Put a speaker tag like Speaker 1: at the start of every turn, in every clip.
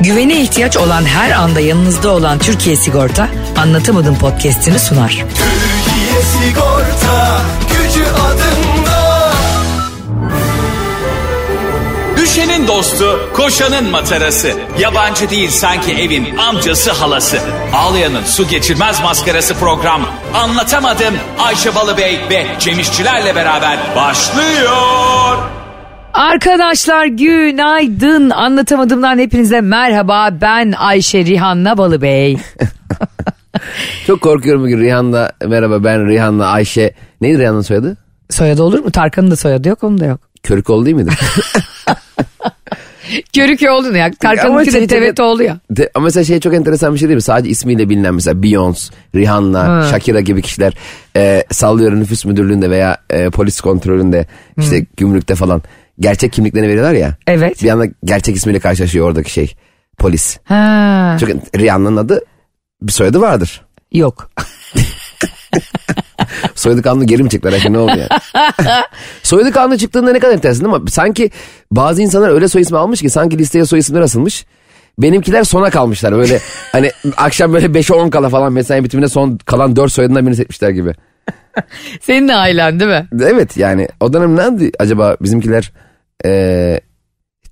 Speaker 1: Güvene ihtiyaç olan her anda yanınızda olan Türkiye Sigorta Anlatamadım podcast'ini sunar.
Speaker 2: Türkiye Sigorta Gücü adında
Speaker 3: Düşenin dostu, koşanın matarası. Yabancı değil sanki evin amcası halası. Ağlayanın su geçirmez maskarası program. Anlatamadım Ayşe Balıbey ve Cemişçilerle beraber başlıyor.
Speaker 1: Arkadaşlar günaydın. Anlatamadımdan hepinize merhaba. Ben Ayşe Rihanna Balıbey.
Speaker 4: Çok korkuyorum bugün Rihanna. Merhaba ben Rihanna Ayşe. Neydi Rihanna'nın soyadı?
Speaker 1: Soyadı olur mu? Tarkan'ın da soyadı yok onun da yok.
Speaker 4: Körükoğlu değil miydi?
Speaker 1: Körük oldu ya. Tarkan'ınki de
Speaker 4: şey-
Speaker 1: Tevet oğlu ya.
Speaker 4: De- ama mesela şey çok enteresan bir şey değil mi? Sadece ismiyle bilinen mesela Beyoncé, Rihanna, Shakira gibi kişiler e, sallıyor nüfus müdürlüğünde veya e, polis kontrolünde işte gümrükte falan gerçek kimliklerini veriyorlar ya.
Speaker 1: Evet.
Speaker 4: Bir anda gerçek ismiyle karşılaşıyor oradaki şey polis.
Speaker 1: Ha,
Speaker 4: Çünkü Rihanna'nın adı bir soyadı vardır.
Speaker 1: yok.
Speaker 4: Soyadı kanunu geri mi çektiler? Ayşe, ne oldu yani? Soyadı kanunu çıktığında ne kadar enteresan değil mi? Sanki bazı insanlar öyle soy ismi almış ki sanki listeye soy isimler asılmış. Benimkiler sona kalmışlar böyle hani akşam böyle 5'e 10 kala falan mesai bitimine son kalan 4 soyadından birini seçmişler gibi.
Speaker 1: Senin de ailen değil mi?
Speaker 4: Evet yani o dönem nendi acaba bizimkiler eee,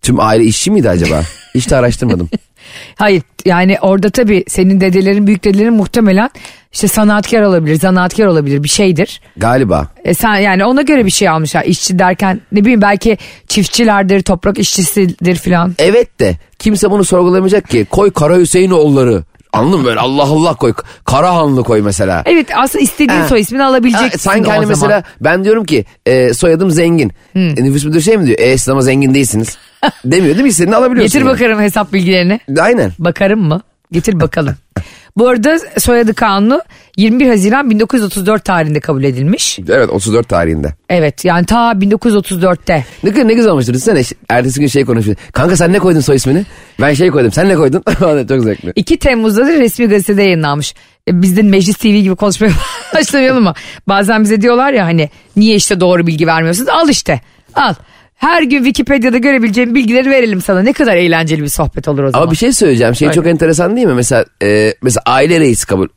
Speaker 4: tüm aile işçi miydi acaba? Hiç de araştırmadım.
Speaker 1: Hayır yani orada tabii senin dedelerin büyük dedelerin muhtemelen işte sanatkar olabilir, zanaatkar olabilir bir şeydir.
Speaker 4: Galiba.
Speaker 1: E sen yani ona göre bir şey almışlar. İşçi derken ne bileyim belki çiftçilerdir, toprak işçisidir filan.
Speaker 4: Evet de kimse bunu sorgulamayacak ki koy Kara Hüseyinoğulları. Anladın mı böyle Allah Allah koy. Karahanlı koy mesela.
Speaker 1: Evet aslında istediğin
Speaker 4: Ha.
Speaker 1: soy ismini alabileceksin
Speaker 4: Ee, Ha, sanki
Speaker 1: o
Speaker 4: hani
Speaker 1: zaman.
Speaker 4: mesela ben diyorum ki e, soyadım zengin. E, nüfus müdürü şey mi diyor? E siz ama zengin değilsiniz. Demiyor değil mi? İstediğini alabiliyorsun.
Speaker 1: Getir
Speaker 4: yani.
Speaker 1: bakarım hesap bilgilerini.
Speaker 4: Aynen.
Speaker 1: Bakarım mı? Getir bakalım. Bu arada soyadı kanunu 21 Haziran 1934 tarihinde kabul edilmiş.
Speaker 4: Evet 34 tarihinde.
Speaker 1: Evet yani ta 1934'te.
Speaker 4: Ne, kadar- ne güzel olmuştur. Düşünsene işte, ertesi gün şey konuşuyor. Kanka sen ne koydun soy ismini? Ben şey koydum. Sen ne koydun? Çok zevkli.
Speaker 1: 2 Temmuz'da da resmi gazetede yayınlanmış. E, Biz de Meclis TV gibi konuşmaya başlamayalım mı? Bazen bize diyorlar ya hani niye işte doğru bilgi vermiyorsunuz? Al işte al. Her gün Wikipedia'da görebileceğim bilgileri verelim sana. Ne kadar eğlenceli bir sohbet olur o zaman.
Speaker 4: Ama bir şey söyleyeceğim. Şey çok enteresan değil mi? Mesela e, mesela aile reisi kabul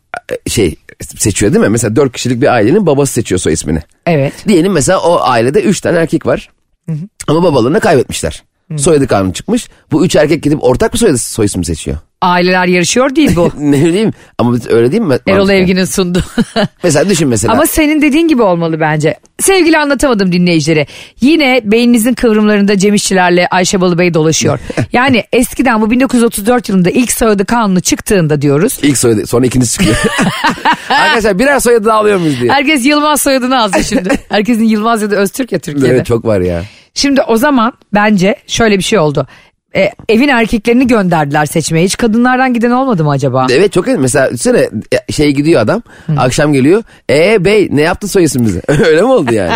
Speaker 4: e, şey seçiyor değil mi? Mesela 4 kişilik bir ailenin babası seçiyor soy ismini.
Speaker 1: Evet.
Speaker 4: Diyelim mesela o ailede 3 tane erkek var. Ama babalarını kaybetmişler. Soyadı kanunu çıkmış. Bu üç erkek gidip ortak bir soyadı soy ismi seçiyor.
Speaker 1: Aileler yarışıyor değil bu.
Speaker 4: ne bileyim ama biz öyle değil mi?
Speaker 1: Oh. Erol
Speaker 4: Mantıklı.
Speaker 1: Evgin'in sundu.
Speaker 4: Mesela düşün mesela.
Speaker 1: Ama senin dediğin gibi olmalı bence. Sevgili anlatamadım dinleyicilere. Yine beyninizin kıvrımlarında Cem İşçilerle Ayşe Balıbey dolaşıyor. yani eskiden bu 1934 yılında ilk soyadı kanunu çıktığında diyoruz.
Speaker 4: İlk soyadı sonra ikincisi çıkıyor. Arkadaşlar birer soyadı daha alıyor muyuz diye.
Speaker 1: Herkes Yılmaz soyadını alsın şimdi. Herkesin Yılmaz ya da Öztürk ya Türkiye'de.
Speaker 4: Evet çok var ya.
Speaker 1: Şimdi o zaman bence şöyle bir şey oldu. E, evin erkeklerini gönderdiler seçmeye. Hiç kadınlardan giden olmadı mı acaba?
Speaker 4: Evet çok mesela düşünsene e, şey gidiyor adam akşam geliyor. E bey ne yaptın soy ismimizi? Öyle mi oldu yani?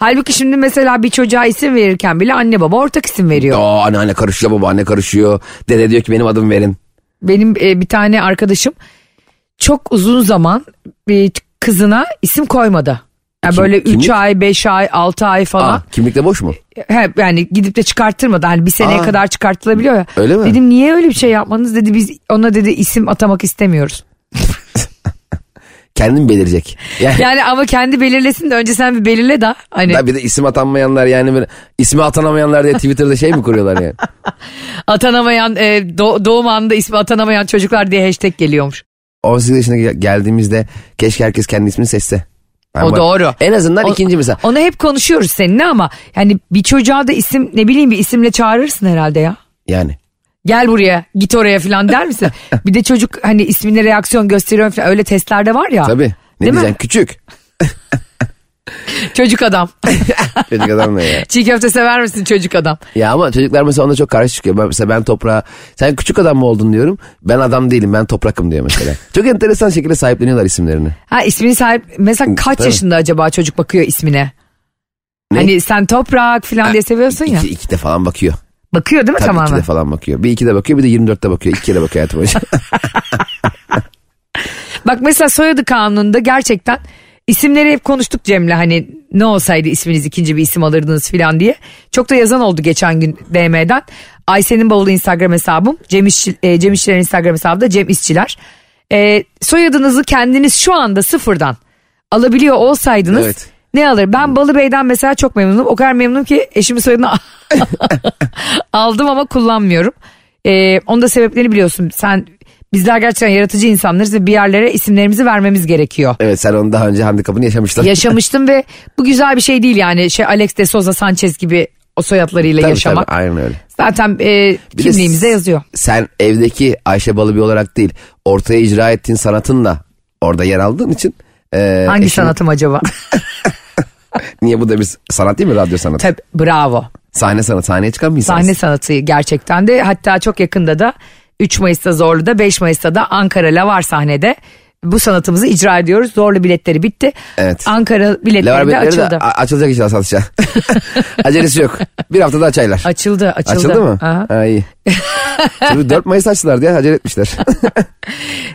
Speaker 1: Halbuki şimdi mesela bir çocuğa isim verirken bile anne baba ortak isim veriyor.
Speaker 4: Aa anneanne karışıyor babaanne karışıyor. Dede diyor ki benim adımı verin.
Speaker 1: Benim e, bir tane arkadaşım çok uzun zaman bir kızına isim koymadı. Yani
Speaker 4: Kim-
Speaker 1: böyle 3
Speaker 4: kimlik?
Speaker 1: ay, 5 ay, 6 ay falan.
Speaker 4: Aa, kimlikte boş mu?
Speaker 1: He, yani gidip de çıkarttırmadı. Hani bir seneye
Speaker 4: Aa.
Speaker 1: kadar çıkartılabiliyor ya.
Speaker 4: Öyle mi?
Speaker 1: Dedim niye öyle bir şey yapmanız dedi. Biz ona dedi isim atamak istemiyoruz.
Speaker 4: Kendin belirecek. Yani,
Speaker 1: Yani ama kendi belirlesin de önce sen bir belirle da hani
Speaker 4: Ya bir de isim atanmayanlar yani böyle ismi atanamayanlar diye Twitter'da şey mi kuruyorlar yani?
Speaker 1: atanamayan e, do- doğum anında ismi atanamayan çocuklar diye hashtag geliyormuş.
Speaker 4: 18 yaşına gel- geldiğimizde keşke herkes kendi ismini seçse. Ben
Speaker 1: O
Speaker 4: bak-
Speaker 1: doğru.
Speaker 4: En azından
Speaker 1: O-
Speaker 4: ikinci mesela.
Speaker 1: Onu hep konuşuyoruz seninle ama yani bir çocuğa da isim ne bileyim bir isimle çağırırsın herhalde ya.
Speaker 4: Yani.
Speaker 1: gel buraya git oraya falan der misin? bir de çocuk hani ismine reaksiyon gösteriyor falan öyle testlerde var ya.
Speaker 4: Tabii. Ne
Speaker 1: Değil mi?
Speaker 4: diyeceksin? Küçük.
Speaker 1: Çocuk adam.
Speaker 4: Çocuk adam ne ya?
Speaker 1: Çiğ köfte sever misin çocuk adam?
Speaker 4: Ya ama çocuklar mesela ona çok karşı çıkıyor. Ben, mesela ben toprağa sen küçük adam mı oldun diyorum. Ben adam değilim ben toprakım diyor mesela. çok enteresan şekilde sahipleniyorlar isimlerini.
Speaker 1: Ha ismini sahip mesela kaç
Speaker 4: Tabii.
Speaker 1: yaşında acaba çocuk bakıyor ismine?
Speaker 4: Ne?
Speaker 1: Hani sen toprak falan diye seviyorsun ya.
Speaker 4: İki, ikide falan bakıyor.
Speaker 1: Bakıyor değil mi
Speaker 4: Tabii
Speaker 1: tamamen?
Speaker 4: ikide falan bakıyor. Bir ikide bakıyor bir de 24'te bakıyor. İki kere bakıyor hayatım boyunca.
Speaker 1: Bak mesela soyadı kanununda gerçekten İsimleri hep konuştuk Cem'le hani ne olsaydı isminiz ikinci bir isim alırdınız filan diye. Çok da yazan oldu geçen gün DM'den. Ayşe'nin bavulu Instagram hesabım. Cem, İşçi, e, Cem İşçilerin Instagram hesabı da Cem İşçiler. E, soyadınızı kendiniz şu anda sıfırdan alabiliyor olsaydınız
Speaker 4: Evet.
Speaker 1: ne alır? Ben Balıbey'den mesela çok memnunum. O kadar memnunum ki eşimin soyadını aldım ama kullanmıyorum. Ee, onun da sebeplerini biliyorsun. Sen bizler gerçekten yaratıcı insanlarız ve bir yerlere isimlerimizi vermemiz gerekiyor.
Speaker 4: Evet sen onu daha önce handikapını yaşamıştın.
Speaker 1: Yaşamıştım ve bu güzel bir şey değil yani. Şey Alex de Souza Sanchez gibi o soyadlarıyla
Speaker 4: Tabii,
Speaker 1: yaşamak.
Speaker 4: tabii, aynen öyle.
Speaker 1: Zaten e,
Speaker 4: Bir de
Speaker 1: kimliğimize
Speaker 4: s-
Speaker 1: yazıyor.
Speaker 4: Sen evdeki Ayşe Balıbey olarak değil ortaya icra ettiğin sanatınla orada yer aldığın için. e,
Speaker 1: Hangi
Speaker 4: eşin-
Speaker 1: sanatım acaba?
Speaker 4: Niye bu da bir sanat değil mi radyo sanatı?
Speaker 1: Tabii, bravo.
Speaker 4: Sahne sanatı sahneye çıkan bir insansın.
Speaker 1: Sahne sanatı gerçekten de hatta çok yakında da 3 Mayıs'ta Zorlu'da 5 Mayıs'ta da Ankara Lavar sahnede bu sanatımızı icra ediyoruz. Zorlu biletleri bitti.
Speaker 4: Evet.
Speaker 1: Ankara biletleri
Speaker 4: Levar
Speaker 1: de
Speaker 4: Bey'leri de
Speaker 1: açıldı.
Speaker 4: a- açılacak inşallah satışa. Acelesi yok. Bir haftada açaylar.
Speaker 1: açıldı, açıldı.
Speaker 4: Açıldı mı?
Speaker 1: Aha.
Speaker 4: Ha, iyi. Şimdi 4 Mayıs açtılar diye acele etmişler.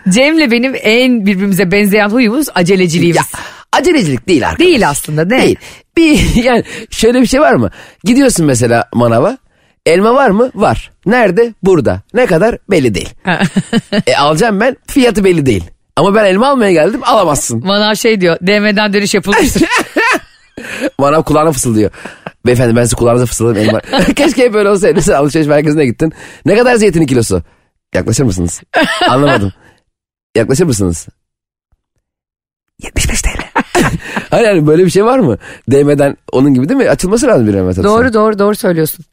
Speaker 1: Cem'le benim en birbirimize benzeyen huyumuz aceleciliğimiz.
Speaker 4: ya, acelecilik değil arkadaş.
Speaker 1: Değil aslında, ne?
Speaker 4: Değil. Bir, yani şöyle bir şey var mı? Gidiyorsun mesela manava. Elma var mı? Var. Nerede? Burada. Ne kadar? Belli değil. e, alacağım ben. Fiyatı belli değil. Ama ben elma almaya geldim alamazsın.
Speaker 1: Bana şey diyor DM'den dönüş yapılmıştır.
Speaker 4: Manav kulağına fısıldıyor. Beyefendi ben size kulağınıza fısıldadım elma. Keşke hep böyle olsaydı. Sen alışveriş merkezine gittin. Ne kadar zeytinin kilosu? Yaklaşır mısınız? Anlamadım. Yaklaşır mısınız? 75 TL. hani, hani böyle bir şey var mı? DM'den onun gibi değil mi? Açılması lazım bir hemen
Speaker 1: doğru doğru doğru söylüyorsun.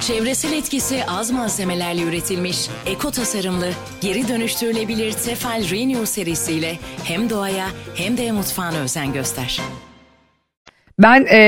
Speaker 5: Çevresel etkisi az malzemelerle üretilmiş, eko tasarımlı, geri dönüştürülebilir Tefal Renew serisiyle hem doğaya hem de mutfağına özen göster.
Speaker 1: Ben e,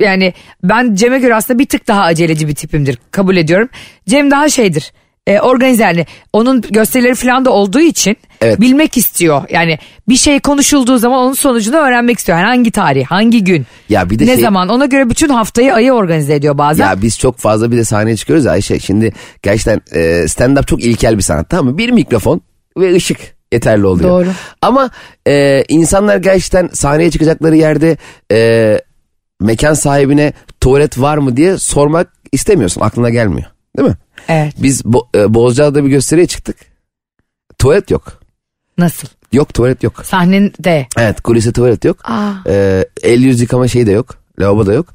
Speaker 1: yani ben Cem'e göre aslında bir tık daha aceleci bir tipimdir kabul ediyorum. Cem daha şeydir e, organize yani onun gösterileri falan da olduğu için
Speaker 4: Evet.
Speaker 1: bilmek istiyor. Yani bir şey konuşulduğu zaman onun sonucunu öğrenmek istiyor. Yani hangi tarih hangi gün
Speaker 4: Ya bir de
Speaker 1: ne
Speaker 4: şey-
Speaker 1: zaman ona göre bütün haftayı ayı organize ediyor bazen.
Speaker 4: Ya biz çok fazla bir de sahneye çıkıyoruz ya Ayşe. Şimdi gerçekten e, stand-up çok ilkel bir sanat tamam mı? Bir mikrofon ve ışık yeterli oluyor.
Speaker 1: Doğru.
Speaker 4: Ama e, insanlar gerçekten sahneye çıkacakları yerde e, mekan sahibine tuvalet var mı diye sormak istemiyorsun. Aklına gelmiyor. Değil mi?
Speaker 1: Evet
Speaker 4: Biz Bo- e, Bozcaada'da bir gösteriye çıktık. Tuvalet yok.
Speaker 1: nasıl
Speaker 4: Yok tuvalet yok.
Speaker 1: sahnede
Speaker 4: Evet kulise tuvalet yok.
Speaker 1: Aa.
Speaker 4: Ee, el yüz yıkama şeyi de yok. Lavabo da yok.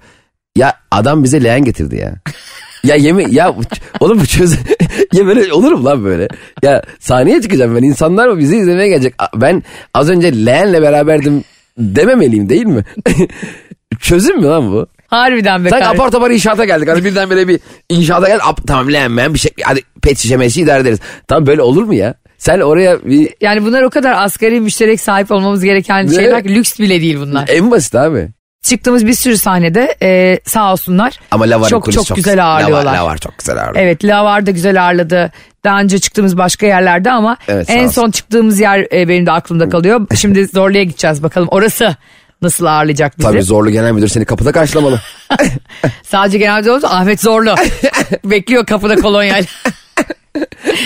Speaker 4: Ya adam bize leğen getirdi ya. ya yemi ya bu- oğlum bu çöz ya böyle olur mu lan böyle? Ya sahneye çıkacağım ben insanlar mı bizi izlemeye gelecek? A- Ben az önce leğenle beraberdim dememeliyim değil mi? Çözüm mü lan bu?
Speaker 1: harbiden be
Speaker 4: Sanki
Speaker 1: kardeşim.
Speaker 4: apar topar inşaata geldik. Hani birdenbire bir inşaata gel. ap- tamam leğen meğen bir şey. Hadi pet şişe meşe idare ederiz. Tamam böyle olur mu ya? Sen oraya bir...
Speaker 1: Yani bunlar o kadar asgari müşterek sahip olmamız gereken şeyler ki lüks bile değil bunlar.
Speaker 4: En basit abi.
Speaker 1: Çıktığımız bir sürü sahnede e, sağ olsunlar.
Speaker 4: Ama Lavar'ın
Speaker 1: çok,
Speaker 4: kulisi
Speaker 1: çok güzel ağırlıyorlar.
Speaker 4: Lavar, Lavar çok güzel ağırlıyor.
Speaker 1: Evet Lavar da güzel ağırladı. Daha önce çıktığımız başka yerlerde ama
Speaker 4: Evet, sağ
Speaker 1: en
Speaker 4: olsun.
Speaker 1: son çıktığımız yer e, benim de aklımda kalıyor. Şimdi Zorlu'ya gideceğiz bakalım orası nasıl ağırlayacak bizi.
Speaker 4: Tabii zorlu genel müdür seni kapıda karşılamalı.
Speaker 1: Sadece genelde olsa Ahmet Zorlu bekliyor kapıda kolonyayla.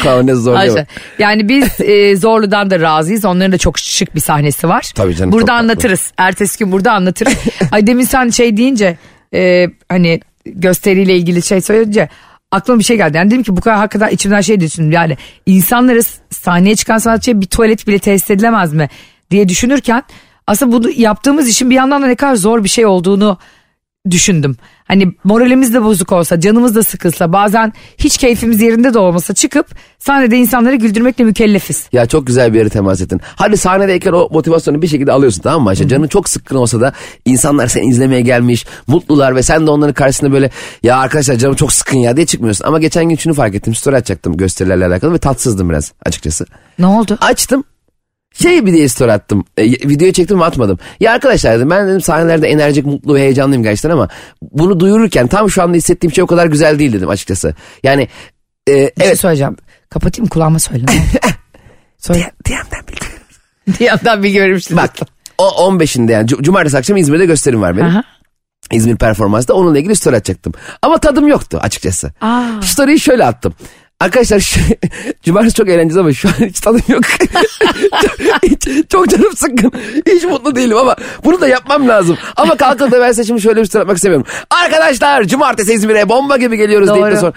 Speaker 4: Kanuni zorlu.
Speaker 1: Ayşe, Yani biz e, Zorlu'dan da razıyız. Onların da çok şık bir sahnesi var.
Speaker 4: Tabii canım, çok
Speaker 1: Burada
Speaker 4: haklı.
Speaker 1: anlatırız. Ertesi gün burada anlatırız. Ay demin sen şey deyince e, hani gösteriyle ilgili şey söyleyince aklıma bir şey geldi. Yani dedim ki bu kadar hakikaten içimden şey düşündüm. Yani insanlara s- sahneye çıkan sanatçıya bir tuvalet bile tesis edilemez mi diye düşünürken aslında bunu yaptığımız işin bir yandan da ne kadar zor bir şey olduğunu düşündüm. Hani moralimiz de bozuk olsa, canımız da sıkılsa, bazen hiç keyfimiz yerinde de olmasa çıkıp sahnede insanları güldürmekle mükellefiz.
Speaker 4: Ya çok güzel bir yere temas ettin. Hadi sahnedeyken o motivasyonu bir şekilde alıyorsun tamam mı Ayşe? Canın çok sıkkın olsa da insanlar seni izlemeye gelmiş, mutlular ve sen de onların karşısında böyle ya arkadaşlar canım çok sıkkın ya diye çıkmıyorsun. Ama geçen gün şunu fark ettim. Story açacaktım gösterilerle alakalı ve tatsızdım biraz açıkçası.
Speaker 1: Ne oldu?
Speaker 4: Açtım. Şey bir diye story attım. E, videoyu çektim ve atmadım. Ya arkadaşlar dedim ben dedim sahnelerde enerjik, mutlu ve heyecanlıyım gerçekten ama bunu duyururken tam şu anda hissettiğim şey o kadar güzel değil dedim açıkçası. Yani e,
Speaker 1: Bir şey
Speaker 4: evet.
Speaker 1: söyleyeceğim. Kapatayım mı? kulağıma söyle. ne oldu? söyle.
Speaker 4: DM'den bilgi.
Speaker 1: Bir yandan bir görmüştüm.
Speaker 4: Bak o 15'inde yani cu- cumartesi akşamı İzmir'de gösterim var benim.
Speaker 1: Aha.
Speaker 4: İzmir performansta onunla ilgili story atacaktım. Ama tadım yoktu açıkçası.
Speaker 1: Aa.
Speaker 4: Story'yi şöyle attım. Arkadaşlar şu, cumartesi çok eğlenceli ama şu an hiç tadım yok. çok, hiç- çok canım sıkkın. Hiç mutlu değilim ama bunu da yapmam lazım. Ama kalkıp da ben saçımı şöyle bir sıratmak istemiyorum. Arkadaşlar cumartesi İzmir'e bomba gibi geliyoruz deyip de
Speaker 1: Doğru.
Speaker 4: sonra.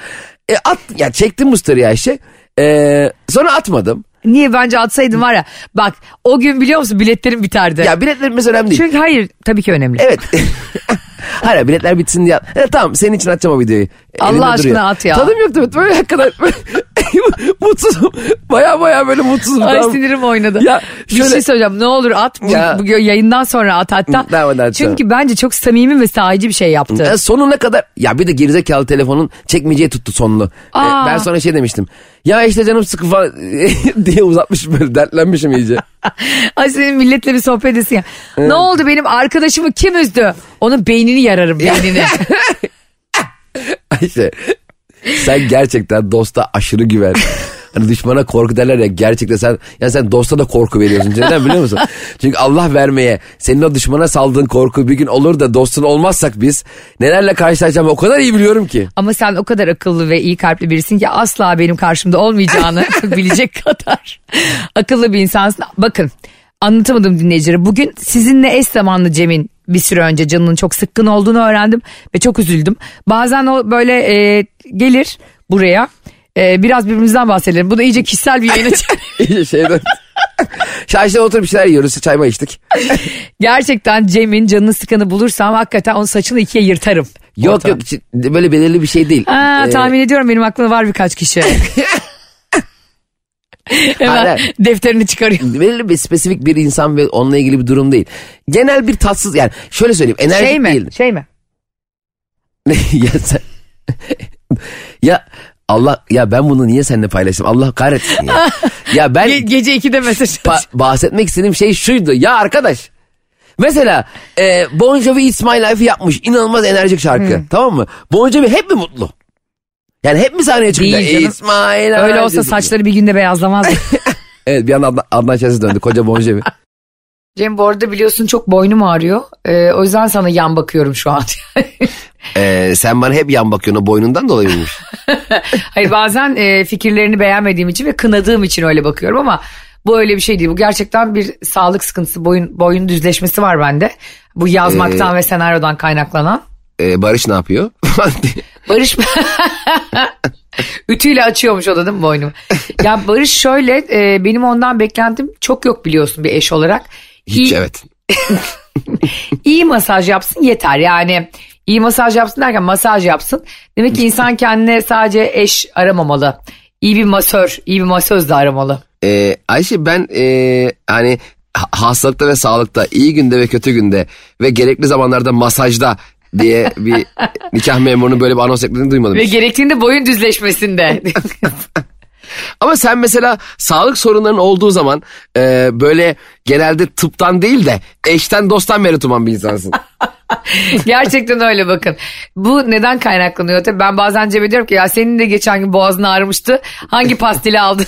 Speaker 4: E, at, ya çektim bu story'i Ayşe. E, sonra atmadım.
Speaker 1: Niye bence atsaydın var ya. Bak o gün biliyor musun biletlerim biterdi.
Speaker 4: Ya biletlerimiz önemli değil.
Speaker 1: Çünkü hayır tabii ki önemli.
Speaker 4: Evet. Hala biletler bitsin diye. E, tamam senin için atacağım o videoyu.
Speaker 1: Allah
Speaker 4: Elimde
Speaker 1: aşkına
Speaker 4: duruyor.
Speaker 1: at ya.
Speaker 4: Tadım yoktu. evet. Böyle kadar mutsuzum. Baya baya böyle mutsuzum.
Speaker 1: Ay
Speaker 4: tamam.
Speaker 1: sinirim oynadı.
Speaker 4: Ya
Speaker 1: Bir
Speaker 4: şöyle-
Speaker 1: şey söyleyeceğim ne olur at bu,
Speaker 4: Ya.
Speaker 1: bu yayından sonra at hatta.
Speaker 4: Hı, tamam, tamam.
Speaker 1: Çünkü bence çok samimi ve sahici bir şey yaptı.
Speaker 4: E, sonuna kadar ya bir de gerizekalı telefonun çekmeyeceği tuttu sonunu. E,
Speaker 1: Aa.
Speaker 4: ben sonra şey demiştim. Ya işte canım sıkı falan diye uzatmışım böyle dertlenmişim iyice.
Speaker 1: Ay senin milletle bir sohbet edesin ya. Ne oldu benim arkadaşımı kim üzdü? Onun beynini yararım beynini.
Speaker 4: Ayşe sen gerçekten dosta aşırı güven. Hani düşmana korku derler ya gerçekten sen yani sen dosta da korku veriyorsun. Neden biliyor musun? Çünkü Allah vermeye senin o düşmana saldığın korku bir gün olur da dostun olmazsak biz nelerle karşılaşacağımı o kadar iyi biliyorum ki.
Speaker 1: Ama sen o kadar akıllı ve iyi kalpli birisin ki asla benim karşımda olmayacağını bilecek kadar akıllı bir insansın. Bakın anlatamadım dinleyicilere. Bugün sizinle eş zamanlı Cem'in bir süre önce canının çok sıkkın olduğunu öğrendim ve çok üzüldüm. Bazen o böyle e, gelir buraya e, biraz birbirimizden bahsedelim. Bu da iyice kişisel bir yayına
Speaker 4: İyice şeyden. Şaşta oturup bir şeyler yiyoruz çayma içtik.
Speaker 1: Gerçekten Cem'in canını sıkanı bulursam hakikaten onun saçını ikiye yırtarım.
Speaker 4: Yok
Speaker 1: Ortadan.
Speaker 4: yok hiç- böyle belirli bir şey değil.
Speaker 1: Aa,
Speaker 4: Ee,
Speaker 1: tahmin ediyorum benim aklımda var birkaç kişi. Hemen
Speaker 4: Aynen.
Speaker 1: defterini çıkarıyor.
Speaker 4: belirli bir spesifik bir insan ve onunla ilgili bir durum değil. Genel bir tatsız yani şöyle söyleyeyim enerjik
Speaker 1: Şey mi?
Speaker 4: değil.
Speaker 1: Şey mi?
Speaker 4: ya sen... ya Allah ya ben bunu niye seninle paylaştım? Allah kahretsin ya. ya ben
Speaker 1: Ge- gece 2'de mesaj.
Speaker 4: ba- bahsetmek istediğim şey şuydu. Ya arkadaş Mesela e, Bon Jovi It's My Life'ı yapmış. inanılmaz enerjik şarkı.
Speaker 1: Hmm.
Speaker 4: Tamam mı? Bon Jovi hep mi mutlu? Yani hep mi sahneye çıkıyor?
Speaker 1: Değil canım.
Speaker 4: It's my life.
Speaker 1: Öyle olsa
Speaker 4: diyorsun.
Speaker 1: saçları bir günde beyazlamaz.
Speaker 4: Evet bir anda Adnan, Adnan Şensiz döndü. Koca Bon Jovi.
Speaker 1: Cem bu arada biliyorsun çok boynum ağrıyor. Ee, o yüzden sana yan bakıyorum şu an.
Speaker 4: E, sen bana hep yan bakıyorsun. O boynundan dolayı mıymış?
Speaker 1: Hayır bazen e, fikirlerini beğenmediğim için ve kınadığım için öyle bakıyorum ama bu öyle bir şey değil. Bu gerçekten bir sağlık sıkıntısı, boyun boyun düzleşmesi var bende. Bu yazmaktan ve senaryodan kaynaklanan.
Speaker 4: E, Barış ne yapıyor?
Speaker 1: Barış ütüyle açıyormuş o da değil mi boynumu? Ya Barış şöyle e, benim ondan beklentim çok yok biliyorsun bir eş olarak.
Speaker 4: Hiç
Speaker 1: iyi,
Speaker 4: evet.
Speaker 1: iyi masaj yapsın yeter yani. iyi masaj yapsın derken masaj yapsın. Demek ki insan kendine sadece eş aramamalı. İyi bir masör, iyi bir masöz de aramalı.
Speaker 4: Ee, Ayşe ben ee, hani ha- hastalıkta ve sağlıkta iyi günde ve kötü günde ve gerekli zamanlarda masajda diye bir nikah memurunun böyle bir anons ettiğini duymadım.
Speaker 1: Ve gerektiğinde boyun düzleşmesinde.
Speaker 4: Ama sen mesela sağlık sorunların olduğu zaman ee, böyle genelde tıptan değil de eşten dosttan merit uman bir insansın.
Speaker 1: Gerçekten öyle bakın. Bu neden kaynaklanıyor? Tabii ben bazen Cem'e diyorum ki ya senin de geçen gün boğazın ağrımıştı. Hangi pastili aldın?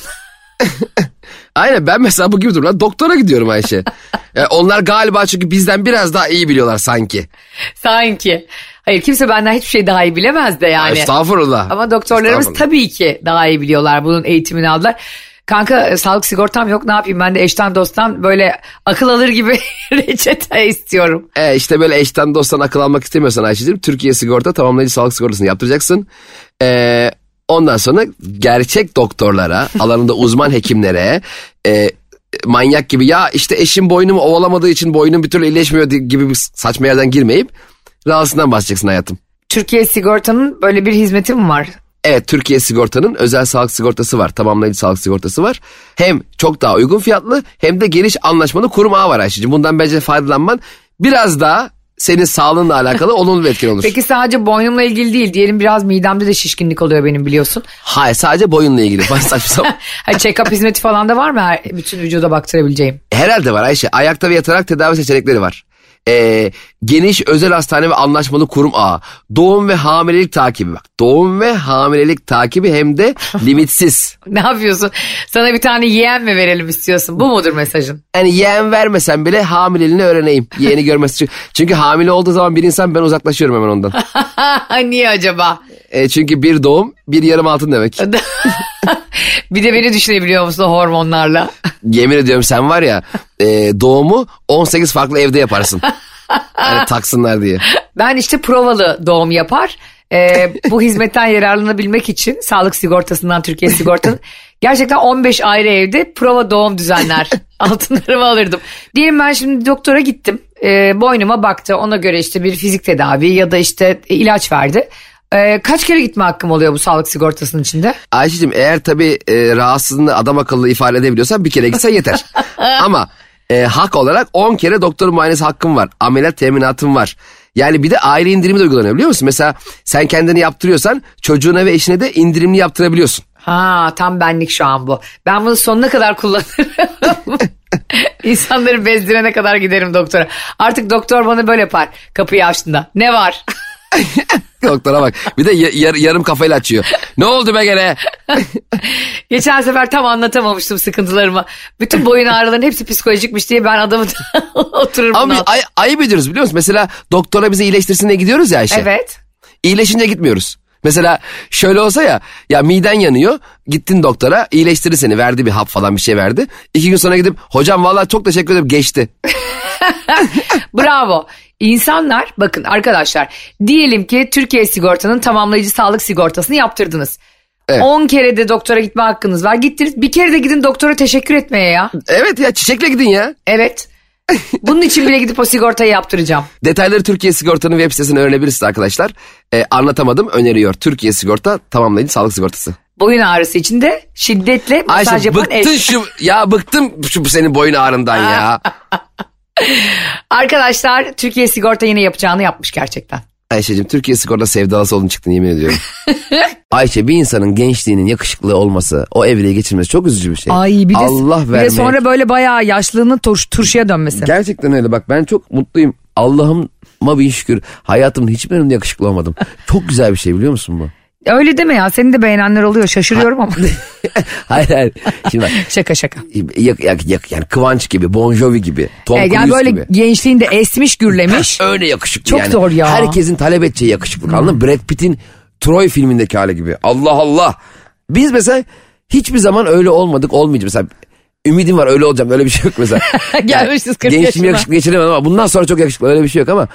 Speaker 4: Aynen ben mesela bu gibi durumlarda doktora gidiyorum Ayşe. Yani onlar galiba çünkü bizden biraz daha iyi biliyorlar sanki.
Speaker 1: Sanki. Hayır kimse benden hiçbir şey daha iyi bilemez de yani.
Speaker 4: Estağfurullah.
Speaker 1: Ama doktorlarımız
Speaker 4: Estağfurullah.
Speaker 1: tabii ki daha iyi biliyorlar. Bunun eğitimini aldılar. Kanka e, sağlık sigortam yok ne yapayım ben de eşten dosttan böyle akıl alır gibi reçete istiyorum.
Speaker 4: E işte böyle eşten dosttan akıl almak istemiyorsan Ayşe'cim Türkiye sigorta tamamlayıcı sağlık sigortasını yaptıracaksın. E, ondan sonra gerçek doktorlara alanında uzman hekimlere e, manyak gibi ya işte eşim boynumu ovalamadığı için boynum bir türlü iyileşmiyor di- gibi bir saçma yerden girmeyip rahatsızdan bahsedeceksin hayatım.
Speaker 1: Türkiye sigortanın böyle bir hizmeti mi var?
Speaker 4: Evet Türkiye sigortanın özel sağlık sigortası var tamamlayıcı sağlık sigortası var. Hem çok daha uygun fiyatlı hem de geniş anlaşmalı kurum ağı var Ayşe'cim bundan bence faydalanman biraz daha senin sağlığınla alakalı olumlu bir etkin olur.
Speaker 1: Peki sadece boynumla ilgili değil diyelim biraz midemde de şişkinlik oluyor benim biliyorsun.
Speaker 4: Hayır sadece boyunla ilgili. Bana saçma sapan.
Speaker 1: Ha, check-up hizmeti falan da var mı her, bütün vücuda baktırabileceğim?
Speaker 4: Herhalde var Ayşe. Ayakta ve yatarak tedavi seçenekleri var. Ee, geniş özel hastane ve anlaşmalı kurum ağı. Doğum ve hamilelik takibi bak. Doğum ve hamilelik takibi hem de limitsiz.
Speaker 1: Ne yapıyorsun? Sana bir tane yeğen mi verelim istiyorsun? Bu mudur mesajın?
Speaker 4: Yani yeğen vermesen bile hamileliğini öğreneyim. Yeğeni görmesi için. Çünkü hamile olduğu zaman bir insan ben uzaklaşıyorum hemen ondan. E,
Speaker 1: Niye acaba?
Speaker 4: Ee, çünkü bir doğum bir yarım altın demek.
Speaker 1: Bir de beni düşünebiliyor musun hormonlarla?
Speaker 4: Yemin ediyorum sen var ya e, doğumu 18 farklı evde yaparsın. Hani taksınlar diye.
Speaker 1: Ben işte provalı doğum yapar. Ee, bu hizmetten yararlanabilmek için sağlık sigortasından Türkiye sigortanın gerçekten 15 ayrı evde prova doğum düzenler altınlarımı alırdım. Diyelim ben şimdi doktora gittim Ee, boynuma baktı ona göre işte bir fizik tedavi ya da işte ilaç verdi. Ee, kaç kere gitme hakkım oluyor bu sağlık sigortasının içinde?
Speaker 4: Ayşe'cim eğer tabii e, rahatsızlığını adam akıllı ifade edebiliyorsan bir kere gitsen yeter. Ama e, hak olarak 10 kere doktor muayenesi hakkım var. Ameliyat teminatım var. Yani bir de aile indirimi de uygulanıyor biliyor musun? Mesela sen kendini yaptırıyorsan çocuğuna ve eşine de indirimli yaptırabiliyorsun.
Speaker 1: Ha tam benlik şu an bu. Ben bunu sonuna kadar kullanırım. İnsanları bezdirene kadar giderim doktora. Artık doktor bana böyle yapar kapıyı açtığında. Ne var?
Speaker 4: Doktora bak. Bir de ya- yar- yarım kafayla açıyor. Ne oldu be gene?
Speaker 1: Geçen sefer tam anlatamamıştım sıkıntılarımı. Bütün boyun ağrıların hepsi psikolojikmiş diye ben adamı otururum.
Speaker 4: Ama biz ay- ayıp ediyoruz biliyor musun? Mesela doktora bizi iyileştirsin diye gidiyoruz ya Ayşe.
Speaker 1: Evet.
Speaker 4: İyileşince gitmiyoruz. Mesela şöyle olsa ya ya miden yanıyor gittin doktora iyileştirir seni verdi bir hap falan bir şey verdi. İki gün sonra gidip hocam vallahi çok teşekkür ederim geçti.
Speaker 1: Bravo. İnsanlar bakın arkadaşlar diyelim ki Türkiye sigortanın tamamlayıcı sağlık sigortasını yaptırdınız.
Speaker 4: Evet.
Speaker 1: 10 kere de doktora gitme hakkınız var. Gittiniz bir kere de gidin doktora teşekkür etmeye ya.
Speaker 4: Evet ya çiçekle gidin ya.
Speaker 1: Evet. Bunun için bile gidip o sigortayı yaptıracağım.
Speaker 4: Detayları Türkiye Sigorta'nın web sitesine öğrenebilirsiniz arkadaşlar. Ee, anlatamadım öneriyor. Türkiye Sigorta tamamlayıcı sağlık sigortası.
Speaker 1: Boyun ağrısı için de şiddetle masaj
Speaker 4: Ayşe
Speaker 1: yapan eş.
Speaker 4: bıktın şu ya bıktım şu senin boyun ağrından ya.
Speaker 1: Arkadaşlar Türkiye sigorta yine yapacağını yapmış gerçekten.
Speaker 4: Ayşe'cim Türkiye Sigorta sevdalısı olduğunu çıktın yemin ediyorum. Ayşe bir insanın gençliğinin yakışıklı olması, o evliliği geçirmesi çok üzücü bir şey.
Speaker 1: Ay bir de,
Speaker 4: Allah
Speaker 1: bir de
Speaker 4: vermeye-
Speaker 1: sonra böyle bayağı yaşlılığının turş, turşuya dönmesi.
Speaker 4: Gerçekten öyle bak ben çok mutluyum. Allah'ıma bin şükür hayatımın hiçbir yerinde yakışıklı olmadım. Çok güzel bir şey biliyor musun bu?
Speaker 1: Öyle deme ya seni de beğenenler oluyor şaşırıyorum ama.
Speaker 4: hayır hayır. Şimdi bak
Speaker 1: şaka şaka.
Speaker 4: yak, yak, yak, yani Kıvanç gibi, Bon Jovi gibi, Tom
Speaker 1: Evet,
Speaker 4: Cruise
Speaker 1: yani Ee, böyle
Speaker 4: gibi.
Speaker 1: gençliğinde esmiş gürlemiş.
Speaker 4: Öyle yakışıklı
Speaker 1: Çok
Speaker 4: yani.
Speaker 1: zor ya. Hmm.
Speaker 4: Herkesin talep edeceği yakışıklık anladın mı? Brad Pitt'in Troy filmindeki hali gibi. Allah Allah. Biz mesela hiçbir zaman öyle olmadık olmayacağız. Mesela ümidim var öyle olacağım öyle bir şey yok mesela.
Speaker 1: Gelmişiz 40
Speaker 4: Gençliğimi
Speaker 1: yaşına.
Speaker 4: yakışıklı geçiremedim ama bundan sonra çok yakışıklı öyle bir şey yok ama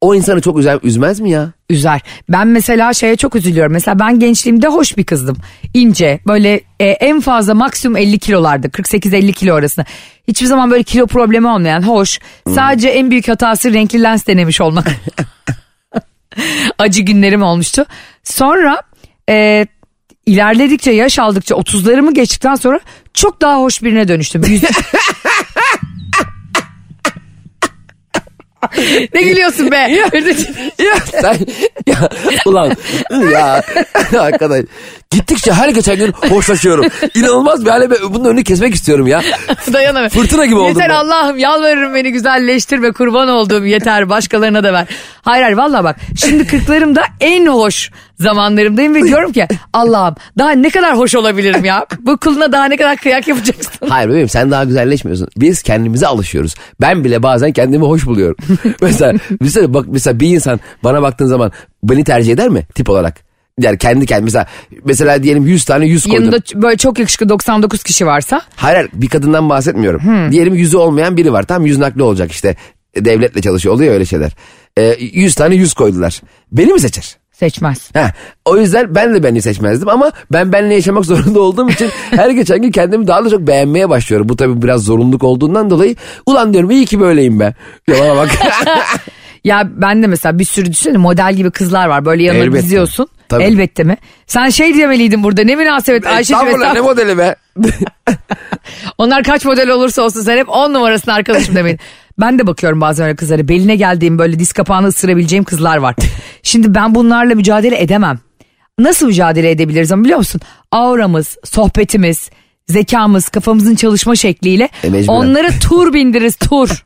Speaker 4: o insanı çok üzer, üzmez mi ya?
Speaker 1: Üzer. Ben mesela şeye çok üzülüyorum. Mesela ben gençliğimde hoş bir kızdım. İnce böyle e, en fazla maksimum 50 kilolarda 48-50 kilo arasında. Hiçbir zaman böyle kilo problemi olmayan hoş.
Speaker 4: Hmm.
Speaker 1: Sadece en büyük hatası renkli lens denemiş olmak. Acı günlerim olmuştu. Sonra e, ilerledikçe yaş aldıkça 30'larımı geçtikten sonra çok daha hoş birine dönüştüm. Yüz- ne gülüyorsun be?
Speaker 4: Ya sen ya ulan ya arkadaş gittikçe her geçen gün hoşlaşıyorum. İnanılmaz bir hale ve bunun önünü kesmek istiyorum ya.
Speaker 1: Dayanamıyorum.
Speaker 4: Fırtına gibi oldum
Speaker 1: Yeter
Speaker 4: ben.
Speaker 1: Allah'ım yalvarırım beni güzelleştirme kurban olduğum yeter başkalarına da ver. Hayır hayır valla bak şimdi kırklarımda en hoş zamanlarımdayım ve diyorum ki Allah'ım daha ne kadar hoş olabilirim ya. Bu kılına daha ne kadar kıyak yapacaksın.
Speaker 4: Hayır bebeğim sen daha güzelleşmiyorsun. Biz kendimize alışıyoruz. Ben bile bazen kendimi hoş buluyorum. mesela, mesela, bak, mesela bir insan bana baktığın zaman beni tercih eder mi tip olarak? Yani kendi kendine mesela, mesela diyelim 100 tane 100 koydum.
Speaker 1: Yanında ç- böyle çok yakışıklı 99 kişi varsa
Speaker 4: Hayır hayır, bir kadından bahsetmiyorum. Diyelim yüzü olmayan biri var. Tam yüz nakli olacak işte. E, Devletle çalışıyor oluyor ya öyle şeyler. E, 100 tane yüz koydular. Beni mi seçer?
Speaker 1: seçmez.
Speaker 4: Ha, o yüzden ben de beni seçmezdim ama ben benle yaşamak zorunda olduğum için her geçen gün kendimi daha da çok beğenmeye başlıyorum. Bu tabii biraz zorunluluk olduğundan dolayı ulan diyorum iyi ki böyleyim ben. Yalana bak.
Speaker 1: Ya ben de mesela bir sürü düşünsene model gibi kızlar var böyle yanına
Speaker 4: Elbette.
Speaker 1: diziyorsun.
Speaker 4: Tabii. E,
Speaker 1: Elbette mi? Sen şey demeliydin burada ne münasebet Ayşe
Speaker 4: Estağfurullah ne modeli be.
Speaker 1: Onlar kaç model olursa olsun sen hep on numarasını arkadaşım demeyin. Ben de bakıyorum bazen öyle kızlara. Beline geldiğim böyle diz kapağını ısırabileceğim kızlar var. Şimdi ben bunlarla mücadele edemem. Nasıl mücadele edebiliriz ama biliyor musun? Auramız, sohbetimiz, zekamız, kafamızın çalışma şekliyle
Speaker 4: E, mecburen.
Speaker 1: onlara tur bindiririz tur.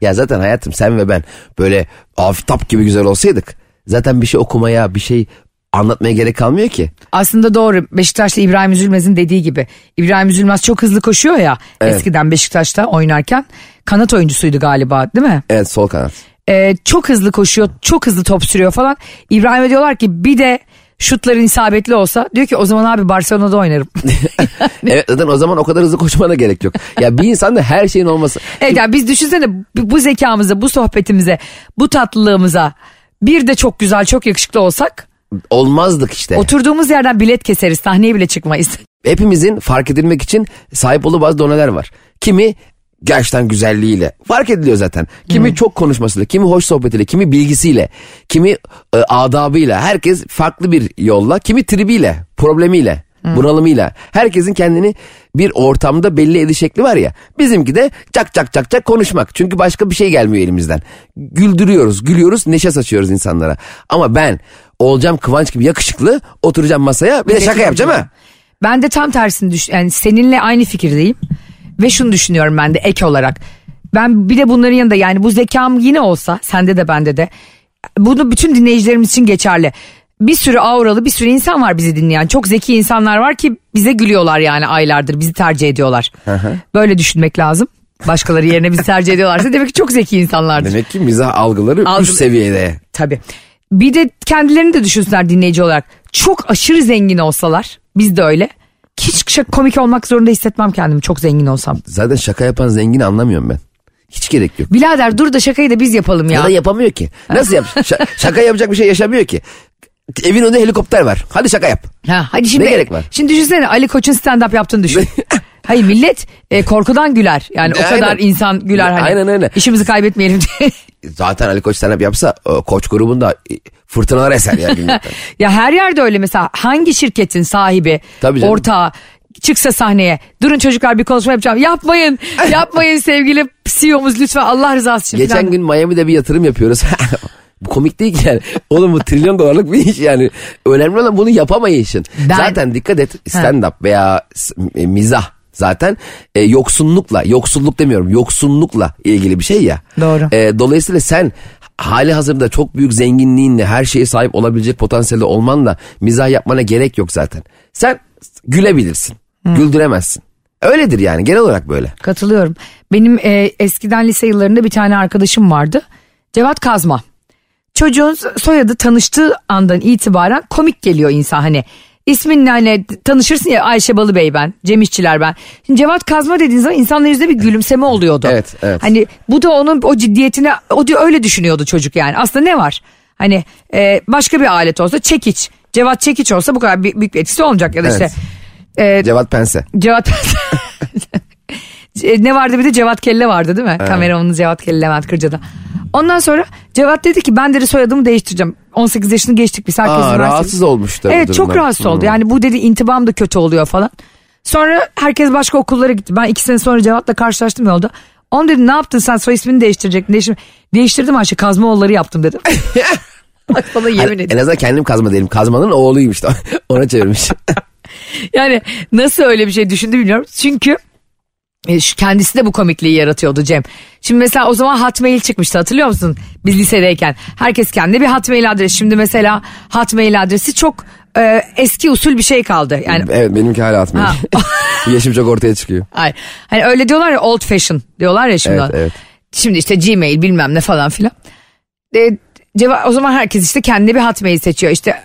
Speaker 4: ya zaten hayatım sen ve ben böyle aftap gibi güzel olsaydık zaten bir şey okumaya bir şey anlatmaya gerek kalmıyor ki.
Speaker 1: Aslında doğru Beşiktaş'ta İbrahim Üzülmez'in dediği gibi. İbrahim Üzülmez çok hızlı koşuyor ya eskiden Beşiktaş'ta oynarken. Kanat oyuncusuydu galiba değil mi?
Speaker 4: Evet sol kanat.
Speaker 1: Ee, çok hızlı koşuyor, çok hızlı top sürüyor falan. İbrahim'e diyorlar ki bir de şutların isabetli olsa diyor ki o zaman abi Barcelona'da oynarım.
Speaker 4: Evet zaten o zaman o kadar hızlı koşmana gerek yok. Ya bir insanda her şeyin olması.
Speaker 1: Evet yani biz düşünsene bu bu zekamıza, bu sohbetimize, bu tatlılığımıza bir de çok güzel, çok yakışıklı olsak
Speaker 4: Olmazdık işte.
Speaker 1: oturduğumuz yerden bilet keseriz, sahneye bile çıkmayız.
Speaker 4: Hepimizin fark edilmek için sahip olduğu bazı doneler var. Kimi gerçekten güzelliğiyle fark ediliyor zaten. Kimi çok konuşmasıyla, kimi hoş sohbetiyle, kimi bilgisiyle, kimi e, adabıyla. Herkes farklı bir yolla, kimi tribiyle, problemiyle, bunalımıyla. Herkesin kendini bir ortamda belli ediş şekli var ya. Bizimki de çak çak çak çak konuşmak. Çünkü başka bir şey gelmiyor elimizden. Güldürüyoruz, gülüyoruz, neşe saçıyoruz insanlara. Ama ben olacağım Kıvanç gibi yakışıklı oturacağım masaya bir de şaka yapacağım ha.
Speaker 1: Ben de tam tersini düş yani seninle aynı fikirdeyim. Ve şunu düşünüyorum ben de ek olarak. Ben bir de bunların yanında yani bu zekam yine olsa sende de bende de. Bunu bütün dinleyicilerimiz için geçerli. Bir sürü auralı bir sürü insan var bizi dinleyen. Çok zeki insanlar var ki bize gülüyorlar yani aylardır bizi tercih ediyorlar. Böyle düşünmek lazım. Başkaları yerine bizi tercih ediyorlarsa demek ki çok zeki insanlardır.
Speaker 4: Demek ki mizah algıları
Speaker 1: Algı-
Speaker 4: üst seviyede.
Speaker 1: Tabii. Bir de kendilerini de düşünsünler dinleyici olarak. Çok aşırı zengin olsalar biz de öyle. Hiç şak- komik olmak zorunda hissetmem kendimi çok zengin olsam.
Speaker 4: Zaten şaka yapan zengini anlamıyorum ben. Hiç gerek yok.
Speaker 1: Bilader dur da şakayı da biz yapalım
Speaker 4: Ya,
Speaker 1: ya.
Speaker 4: da yapamıyor ki. Nasıl yap? Şa- şaka yapacak bir şey yaşamıyor ki. Evin önünde helikopter var. Hadi şaka yap.
Speaker 1: Ha, hadi şimdi,
Speaker 4: Ne gerek var?
Speaker 1: Şimdi düşünsene Ali Koç'un stand-up yaptığını düşün. Hayır millet e, korkudan güler. Yani o
Speaker 4: Aynen.
Speaker 1: kadar insan güler. Hani,
Speaker 4: Aynen, aynen.
Speaker 1: İşimizi kaybetmeyelim diye.
Speaker 4: Zaten Ali Koç stand yapsa e, koç grubunda e, fırtınalar eser ya gülmekten.
Speaker 1: ya her yerde öyle mesela hangi şirketin sahibi,
Speaker 4: Tabii canım.
Speaker 1: ortağı çıksa sahneye durun çocuklar bir konuşma yapacağım. Yapmayın yapmayın sevgili CEO'muz lütfen Allah rızası için.
Speaker 4: Geçen
Speaker 1: falan.
Speaker 4: gün Miami'de bir yatırım yapıyoruz. bu komik değil ki yani. Oğlum bu trilyon dolarlık bir iş yani. Önemli olan bunu yapamayışın.
Speaker 1: Ben-
Speaker 4: Zaten dikkat et stand up veya s- e, mizah zaten e, yoksunlukla, yoksulluk demiyorum yoksunlukla ilgili bir şey ya.
Speaker 1: Doğru.
Speaker 4: E, dolayısıyla sen hali hazırda çok büyük zenginliğinle her şeye sahip olabilecek potansiyelde olmanla mizah yapmana gerek yok zaten. Sen gülebilirsin, güldüremezsin. Öyledir yani genel olarak böyle.
Speaker 1: Katılıyorum. Benim e, eskiden lise yıllarında bir tane arkadaşım vardı. Cevat Kazma. Çocuğun soyadı tanıştığı andan itibaren komik geliyor insan hani. İsminle hani tanışırsın ya Ayşe Balıbey ben, Cem İşçiler ben. Şimdi Cevat Kazma dediğin zaman insanların yüzünde bir gülümseme oluyordu.
Speaker 4: Evet, evet.
Speaker 1: Hani bu da onun o ciddiyetine, o diyor öyle düşünüyordu çocuk yani. Aslında ne var? Hani e, başka bir alet olsa çekiç. Cevat çekiç olsa bu kadar büyük, büyük bir etkisi olmayacak ya da işte.
Speaker 4: Evet.
Speaker 1: e,
Speaker 4: Cevat Pense.
Speaker 1: Cevat E, ne vardı bir de Cevat Kelle vardı değil mi? Kameramanın Cevat Kelle Levent Kırca'da. Ondan sonra Cevat dedi ki ben dedi soyadımı değiştireceğim. 18 yaşını geçtik biz herkes
Speaker 4: Aa,
Speaker 1: üniversite-
Speaker 4: rahatsız olmuş da bu
Speaker 1: Evet çok
Speaker 4: durumdan.
Speaker 1: rahatsız oldu.
Speaker 4: Hmm.
Speaker 1: Yani bu dedi intibam da kötü oluyor falan. Sonra herkes başka okullara gitti. Ben iki sene sonra Cevat'la karşılaştım yolda. On dedi ne yaptın sen soy ismini değiştirecektin. Değiştir Değiştirdim Ayşe Kazmaoğulları yaptım dedim. Bak Bana yemin
Speaker 4: Hani en
Speaker 1: ediyorum.
Speaker 4: azından kendim kazma değilim. Kazmanın oğluyum işte. Ona çevirmiş.
Speaker 1: Yani nasıl öyle bir şey düşündü bilmiyorum. Çünkü e, şu kendisi de bu komikliği yaratıyordu Cem. Şimdi mesela o zaman Hotmail çıkmıştı hatırlıyor musun? Biz lisedeyken. Herkes kendine bir Hotmail adresi. Şimdi mesela Hotmail adresi çok e, eski usul bir şey kaldı. Yani
Speaker 4: evet benimki hala atmıyor.
Speaker 1: Ha.
Speaker 4: Yaşım çok ortaya çıkıyor.
Speaker 1: ay, hani öyle diyorlar ya old fashion diyorlar ya şimdi.
Speaker 4: Evet, evet.
Speaker 1: Şimdi işte Gmail bilmem ne falan filan. E, ceva- o zaman herkes işte kendine bir Hotmail seçiyor. İşte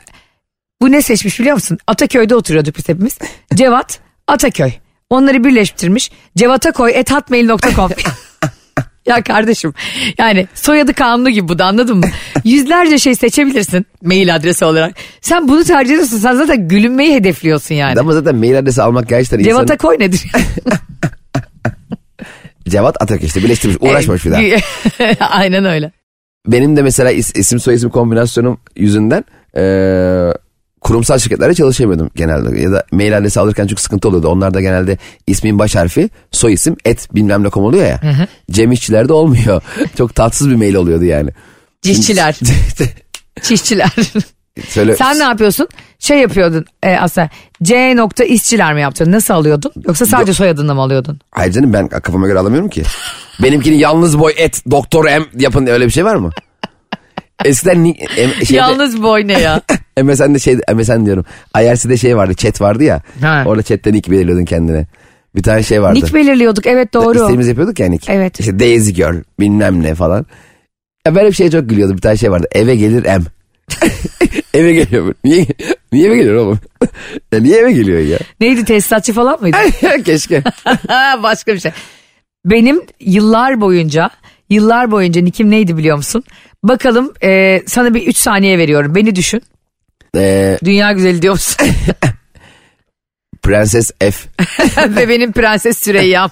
Speaker 1: bu ne seçmiş biliyor musun? Ataköy'de oturuyorduk biz hepimiz. Cevat, Ataköy. Onları birleştirmiş. Cevata koy et hotmail.com. ya kardeşim yani soyadı kanunu gibi bu da anladın mı? Yüzlerce şey seçebilirsin mail adresi olarak. Sen bunu tercih ediyorsun. Sen zaten gülünmeyi hedefliyorsun yani.
Speaker 4: Ama zaten mail adresi almak gerçekten insanın...
Speaker 1: Cevata koy nedir?
Speaker 4: Cevat Atak işte birleştirmiş. Uğraşmamış bir daha.
Speaker 1: E, Aynen öyle.
Speaker 4: Benim de mesela is- isim soy isim kombinasyonum yüzünden eee, kurumsal şirketlerde çalışamıyordum genelde. Ya da mail adresi alırken çok sıkıntı oluyordu. Onlar da genelde ismin baş harfi soy isim et bilmem ne kom oluyor ya. Cem İşçilerde olmuyor. çok tatsız bir mail oluyordu yani.
Speaker 1: Cişçiler, çişçiler.
Speaker 4: Söyle,
Speaker 1: Sen ne yapıyorsun? Şey yapıyordun e, aslında C nokta işçiler mi yaptın? Nasıl alıyordun? Yoksa sadece soyadını mı alıyordun?
Speaker 4: Hayır canım ben kafama göre alamıyorum ki. Benimkini yalnız boy et doktor M yapın öyle bir şey var mı? Eskiden ni- em, şeyde,
Speaker 1: Yalnız boy ne ya?
Speaker 4: MSN'de şey MSN diyorum. IRC'de şey vardı chat vardı ya.
Speaker 1: Ha.
Speaker 4: Orada chatte nick belirliyordun kendine. Bir tane şey vardı.
Speaker 1: Nick belirliyorduk evet doğru.
Speaker 4: İstediğimizi yapıyorduk ya nick.
Speaker 1: Evet.
Speaker 4: İşte Daisy Girl bilmem ne falan. Ya ben hep şeye çok gülüyordum. Bir tane şey vardı. Eve gelir M. eve geliyor. böyle. Niye, niye eve geliyor oğlum? ya niye eve geliyor ya?
Speaker 1: Neydi tesisatçı falan mıydı?
Speaker 4: Keşke.
Speaker 1: Başka bir şey. Benim yıllar boyunca yıllar boyunca nikim neydi biliyor musun? Bakalım e, sana bir 3 saniye veriyorum. Beni düşün.
Speaker 4: Ee,
Speaker 1: Dünya güzeli diyor musun?
Speaker 4: Prenses F.
Speaker 1: Ve benim prenses Süreyya'm.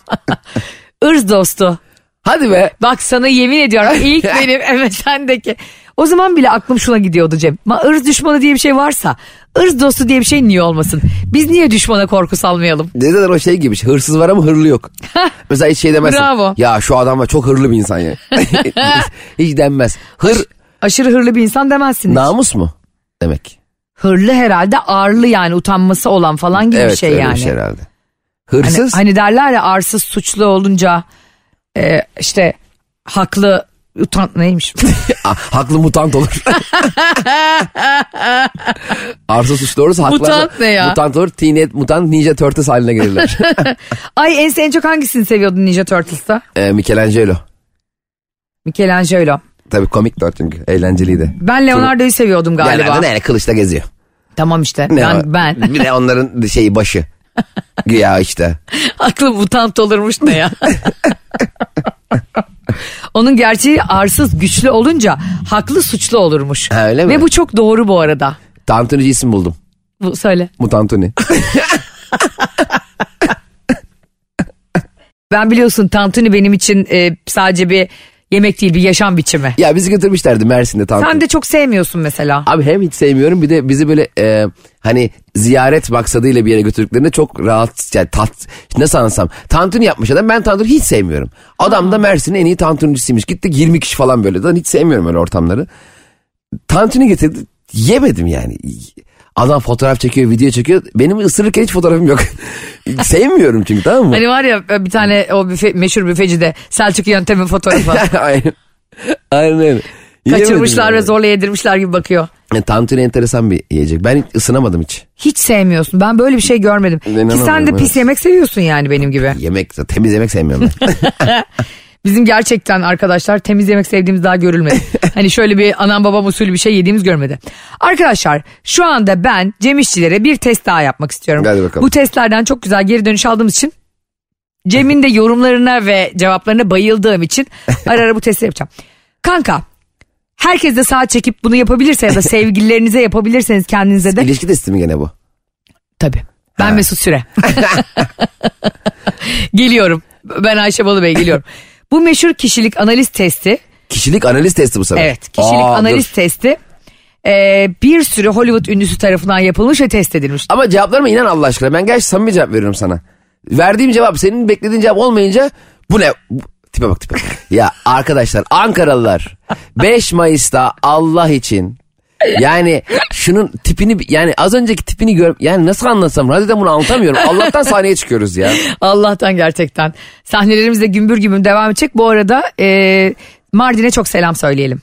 Speaker 1: Irz dostu.
Speaker 4: Hadi be.
Speaker 1: Bak sana yemin ediyorum ilk benim MSN'deki. O zaman bile aklım şuna gidiyordu Cem. Ma ırz düşmanı diye bir şey varsa ırz dostu diye bir şey niye olmasın? Biz niye düşmana korku salmayalım?
Speaker 4: Ne dediler o şey gibi. Hırsız var ama hırlı yok. Mesela hiç şey demezsin.
Speaker 1: Bravo.
Speaker 4: Ya şu adam var çok hırlı bir insan ya. hiç denmez. Hır
Speaker 1: Aşırı hırlı bir insan demezsiniz.
Speaker 4: namus mu? Demek.
Speaker 1: hırlı herhalde ağırlı yani utanması olan falan gibi bir
Speaker 4: Evet
Speaker 1: şey
Speaker 4: öyle
Speaker 1: yani.
Speaker 4: bir şey herhalde.
Speaker 1: Hani-
Speaker 4: Hırsız.
Speaker 1: Hani, derler ya arsız suçlu olunca e, işte haklı utan neymiş?
Speaker 4: Ah, haklı mutant olur. Arsa suçlu olursa haklı.
Speaker 1: Mutant ne ya?
Speaker 4: Mutant olur. Teenage, mutant Ninja Turtles haline gelirler.
Speaker 1: Ay en, en çok hangisini seviyordun Ninja Turtles'ta?
Speaker 4: ee, Michelangelo.
Speaker 1: Michelangelo.
Speaker 4: Tabii komik de o çünkü. Eğlenceliydi.
Speaker 1: Ben Leonardo'yu seviyordum galiba.
Speaker 4: Yerlerde ne? Kılıçta geziyor.
Speaker 1: Tamam işte
Speaker 4: Ne
Speaker 1: ben,
Speaker 4: o?
Speaker 1: ben.
Speaker 4: Bir de onların şeyi başı. Güya işte.
Speaker 1: aklım mutant olurmuş ne ya. Onun gerçeği arsız güçlü olunca haklı suçlu olurmuş.
Speaker 4: Ha, öyle mi?
Speaker 1: Ve bu çok doğru bu arada.
Speaker 4: Tantunici isim buldum.
Speaker 1: Bu söyle.
Speaker 4: Mutantuni.
Speaker 1: Ben biliyorsun tantuni benim için e, sadece bir yemek değil bir yaşam biçimi.
Speaker 4: ya bizi götürmüşlerdi Mersin'de tantuni.
Speaker 1: Sen de çok sevmiyorsun mesela.
Speaker 4: Abi hem hiç sevmiyorum bir de bizi böyle e, hani ziyaret maksadıyla bir yere götürdüklerinde çok rahat yani tat nasıl anlatsam tantuni yapmış adam ben tantuni hiç sevmiyorum. Adam da Mersin'in en iyi tantunisiymiş gittik 20 kişi falan böyle lan hiç sevmiyorum öyle ortamları. Tantuni getirdi yemedim yani. Adam fotoğraf çekiyor video çekiyor benim ısırırken hiç fotoğrafım yok. sevmiyorum çünkü tamam mı?
Speaker 1: Hani var ya bir tane o büfe, meşhur büfecide Selçuk Yöntem'in fotoğrafı.
Speaker 4: Aynen. Aynen öyle. Yiyemedim
Speaker 1: Kaçırmışlar
Speaker 4: yani.
Speaker 1: ve zorla yedirmişler gibi bakıyor.
Speaker 4: Yani E, Tantuni enteresan bir yiyecek. Ben hiç ısınamadım hiç.
Speaker 1: Hiç sevmiyorsun. Ben böyle bir şey görmedim. Ki sen de
Speaker 4: İnanamıyorum,
Speaker 1: pis
Speaker 4: evet.
Speaker 1: yemek seviyorsun yani benim gibi.
Speaker 4: Yemek, temiz yemek sevmiyorum ben.
Speaker 1: Bizim gerçekten arkadaşlar temiz yemek sevdiğimiz daha görülmedi. hani şöyle bir anam babam usulü bir şey yediğimiz görmedi. Arkadaşlar şu anda ben Cem İşçilere bir test daha yapmak istiyorum.
Speaker 4: Hadi bakalım.
Speaker 1: Bu testlerden çok güzel geri dönüş aldığımız için Cem'in de yorumlarına ve cevaplarına bayıldığım için ara ara bu testi yapacağım. Kanka herkes de sağa çekip bunu yapabilirse ya da sevgililerinize yapabilirseniz kendinize de.
Speaker 4: İlişki testi mi gene bu?
Speaker 1: Tabii. Ben Mesut Süre. geliyorum. Ben Ayşe Balıbey geliyorum. Bu meşhur kişilik analiz testi.
Speaker 4: Kişilik analiz testi bu sefer.
Speaker 1: Evet kişilik
Speaker 4: Aa,
Speaker 1: analiz
Speaker 4: dur.
Speaker 1: testi e, bir sürü Hollywood ünlüsü tarafından yapılmış ve test edilmiş.
Speaker 4: Ama cevaplarıma inan Allah aşkına. Ben gerçi samimi cevap veriyorum sana. Verdiğim cevap senin beklediğin cevap olmayınca bu ne? Bu- Tipe bak tipe. ya arkadaşlar Ankaralılar 5 Mayıs'ta Allah için yani şunun tipini yani az önceki tipini gör yani nasıl anlatsam radyoda bunu anlatamıyorum. Allah'tan sahneye çıkıyoruz ya.
Speaker 1: Allah'tan gerçekten. Sahnelerimiz de gümbür gümbür devam edecek. Bu arada e, Mardin'e çok selam söyleyelim.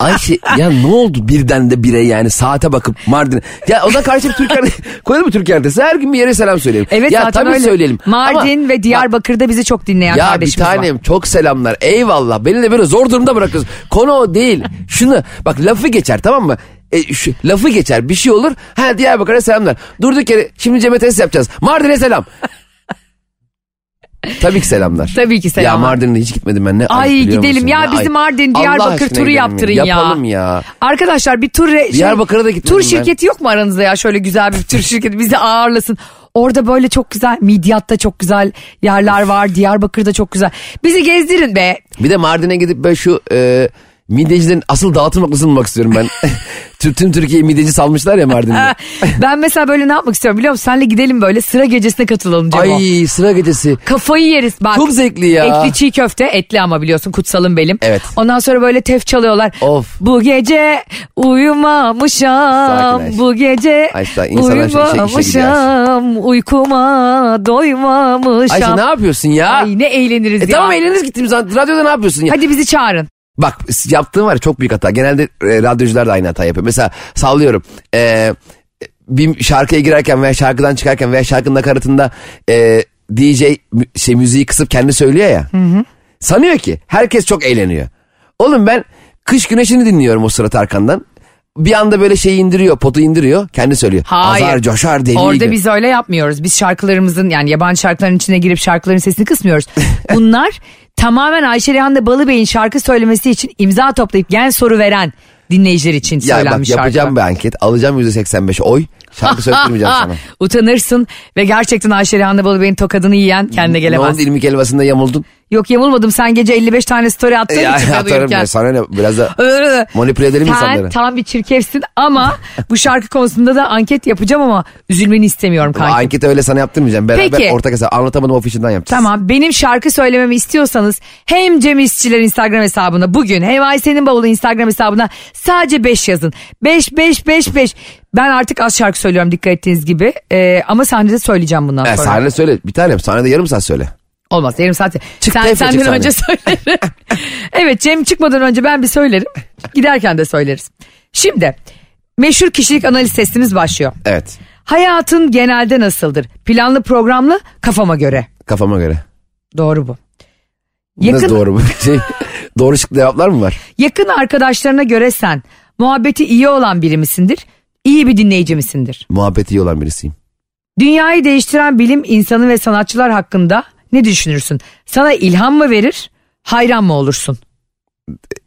Speaker 4: Ayşe ya ne oldu birden de bire yani saate bakıp Mardin. Ya ona karşı bir Türk yer- koyalım mı Türk haritası? Her gün bir yere selam söyleyelim.
Speaker 1: Evet
Speaker 4: ya,
Speaker 1: zaten
Speaker 4: tabii
Speaker 1: öyle.
Speaker 4: söyleyelim.
Speaker 1: Mardin
Speaker 4: Ama-
Speaker 1: ve Diyarbakır'da bizi çok dinleyen
Speaker 4: Ya bir
Speaker 1: kardeşimiz var.
Speaker 4: tanem çok selamlar eyvallah beni de böyle zor durumda bırakıyorsun. Konu o değil. Şunu bak lafı geçer tamam mı? E, şu, lafı geçer bir şey olur. Ha Diyarbakır'a selamlar. Durduk yere şimdi Cem'e test yapacağız. Mardin'e selam. Tabii ki selamlar.
Speaker 1: Tabii ki selamlar.
Speaker 4: Ya Mardin'e hiç gitmedim ben ne. ayıp
Speaker 1: Ay
Speaker 4: biliyor
Speaker 1: gidelim
Speaker 4: musun?
Speaker 1: ya,
Speaker 4: Ne
Speaker 1: bizi
Speaker 4: ayıp.
Speaker 1: Mardin
Speaker 4: Allah
Speaker 1: Diyarbakır
Speaker 4: aşkına
Speaker 1: turu
Speaker 4: gidelim ya.
Speaker 1: yaptırın ya.
Speaker 4: Yapalım ya.
Speaker 1: Arkadaşlar bir tur re- şey-
Speaker 4: Diyarbakır'a da gitmedim
Speaker 1: Tur
Speaker 4: ben.
Speaker 1: şirketi yok mu aranızda ya şöyle güzel bir tur şirketi bizi ağırlasın. Orada böyle çok güzel Midyat'ta çok güzel yerler var. Diyarbakır'da çok güzel. Bizi gezdirin be.
Speaker 4: Bir de Mardin'e gidip ben şu e, midecilerin asıl dağıtım noktasını bulmak istiyorum ben. tüm, tüm Türkiye'yi mideci salmışlar ya Mardin'de.
Speaker 1: ben mesela böyle ne yapmak istiyorum biliyor musun? Senle gidelim böyle sıra gecesine katılalım Cemo.
Speaker 4: Ay sıra gecesi.
Speaker 1: Kafayı yeriz bak.
Speaker 4: Çok zevkli ya.
Speaker 1: Etli çiğ köfte etli ama biliyorsun kutsalın belim.
Speaker 4: Evet.
Speaker 1: Ondan sonra böyle tef çalıyorlar.
Speaker 4: Of.
Speaker 1: Bu gece uyumamışam.
Speaker 4: Sakin Ayşe.
Speaker 1: Bu gece
Speaker 4: Ayşe, daha insanlar işe- işe- işe
Speaker 1: uyumamışam. Uykuma doymamışam.
Speaker 4: Ayşe ne yapıyorsun ya?
Speaker 1: Ay ne eğleniriz
Speaker 4: E
Speaker 1: ya.
Speaker 4: tamam eğleniriz gittiğimiz zaman radyoda ne yapıyorsun ya?
Speaker 1: Hadi bizi çağırın.
Speaker 4: Bak yaptığın var ya, çok büyük hata. Genelde e, radyocular da aynı hata yapıyor. Mesela sallıyorum. E, bir şarkıya girerken veya şarkıdan çıkarken veya şarkının nakaratında e, DJ mü- şey, müziği kısıp kendi söylüyor ya. Sanıyor ki herkes çok eğleniyor. Oğlum ben Kış güneşini dinliyorum o sıra Tarkan'dan. Bir anda böyle şeyi indiriyor, potu indiriyor. Kendi söylüyor.
Speaker 1: Hayır.
Speaker 4: Azar coşar deli
Speaker 1: Orada
Speaker 4: gibi.
Speaker 1: biz öyle yapmıyoruz. Biz şarkılarımızın yani yabancı şarkıların içine girip şarkıların sesini kısmıyoruz. Bunlar tamamen Ayşe Rehan'da Balıbey'in şarkı söylemesi için imza toplayıp gen soru veren dinleyiciler için
Speaker 4: Ya bak
Speaker 1: söylenmiş şarkı.
Speaker 4: yapacağım bir anket. Alacağım %85 oy. Şarkı söyleyemeyeceğim sana.
Speaker 1: Ah, Utanırsın ve gerçekten Ayşe Rehan'da Balıbey'in tokadını yiyen kendine
Speaker 4: Ne
Speaker 1: gelemez.
Speaker 4: oldu ilmik helvasında yamuldun?
Speaker 1: Yok yamulmadım sen gece 55 tane story attın
Speaker 4: Ya
Speaker 1: için ben
Speaker 4: E, atarım
Speaker 1: uyurken.
Speaker 4: ya sana ne biraz da
Speaker 1: Iı.
Speaker 4: manipüle edelim
Speaker 1: Sen
Speaker 4: insanları.
Speaker 1: tam bir çirkefsin ama bu şarkı konusunda da anket yapacağım ama üzülmeni istemiyorum
Speaker 4: Ama
Speaker 1: kanka.
Speaker 4: anketi öyle sana yaptırmayacağım. Beraber
Speaker 1: Peki.
Speaker 4: ortak hesap. Anlatamadım ofisinden yapacağız.
Speaker 1: Tamam benim şarkı söylememi istiyorsanız hem Cem İşçiler Instagram hesabına bugün hem Ayşe'nin bavulu Instagram hesabına sadece 5 yazın. 5 5 5 5. Ben artık az şarkı söylüyorum dikkat ettiğiniz gibi Ee, ama sahnede söyleyeceğim bundan
Speaker 4: E,
Speaker 1: sonra.
Speaker 4: sahne söyle. Bir tanem sahnede yarım saat söyle.
Speaker 1: Olmaz yarım saat.
Speaker 4: Çık
Speaker 1: sen,
Speaker 4: teyfe,
Speaker 1: senden
Speaker 4: çık sahne.
Speaker 1: önce söylerim. evet Cem çıkmadan önce ben bir söylerim. Giderken de söyleriz. Şimdi meşhur kişilik analiz testimiz başlıyor.
Speaker 4: Evet.
Speaker 1: Hayatın genelde nasıldır? Planlı programlı kafama göre.
Speaker 4: Kafama göre.
Speaker 1: Doğru bu.
Speaker 4: Nasıl doğru bu? Şey, doğru şık cevaplar mı var?
Speaker 1: Yakın arkadaşlarına göre sen muhabbeti iyi olan biri misindir? İyi bir dinleyici misindir?
Speaker 4: Muhabbeti iyi olan birisiyim.
Speaker 1: Dünyayı değiştiren bilim insanı ve sanatçılar hakkında ne düşünürsün? Sana ilham mı verir, hayran mı olursun?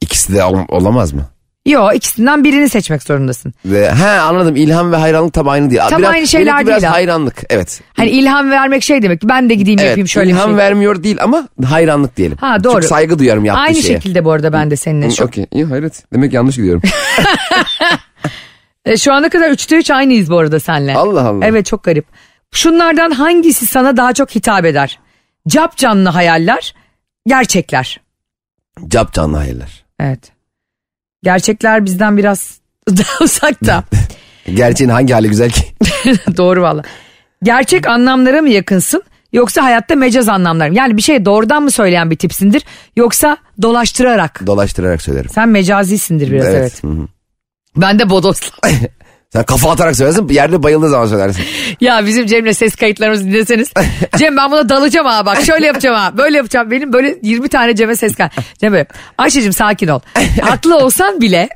Speaker 4: İkisi de ol- olamaz mı?
Speaker 1: Yo ikisinden birini seçmek zorundasın.
Speaker 4: Ve, he anladım ilham ve hayranlık tam aynı değil.
Speaker 1: Tam aynı şeyler
Speaker 4: benimki biraz
Speaker 1: değil ha.
Speaker 4: hayranlık evet.
Speaker 1: Hani ilham vermek şey demek ki ben de gideyim yapayım
Speaker 4: Evet,
Speaker 1: şöyle bir
Speaker 4: ilham
Speaker 1: şey.
Speaker 4: vermiyor değil ama hayranlık diyelim.
Speaker 1: Ha doğru.
Speaker 4: Çok saygı duyarım yaptığı
Speaker 1: Aynı
Speaker 4: şeye.
Speaker 1: şekilde bu arada ben de seninle.
Speaker 4: Hı,
Speaker 1: Şu,
Speaker 4: Okey iyi hayret. Demek yanlış gidiyorum.
Speaker 1: E, şu ana kadar üçte üç aynıyız bu arada senle.
Speaker 4: Allah Allah.
Speaker 1: Evet çok garip. Şunlardan hangisi sana daha çok hitap eder? Cap canlı hayaller, gerçekler.
Speaker 4: Cap canlı hayırlar.
Speaker 1: Evet. Gerçekler bizden biraz daha uzakta.
Speaker 4: Gerçeğin hangi hali güzel ki?
Speaker 1: Doğru valla. Gerçek anlamlara mı yakınsın yoksa hayatta mecaz anlamlara mı? Yani bir şey doğrudan mı söyleyen bir tipsindir yoksa dolaştırarak.
Speaker 4: Dolaştırarak söylerim.
Speaker 1: Sen mecazisindir biraz evet.
Speaker 4: Hı hı.
Speaker 1: Ben de bodos.
Speaker 4: Sen kafa atarak söylersin yerde bayıldığı zaman söylersin.
Speaker 1: ya bizim Cem'le ses kayıtlarımızı dinleseniz. Cem ben buna dalacağım ha bak şöyle yapacağım ha böyle yapacağım. Benim böyle 20 tane Cem'e ses kayıt. Cem böyle Ayşe'cim sakin ol. Haklı olsan bile.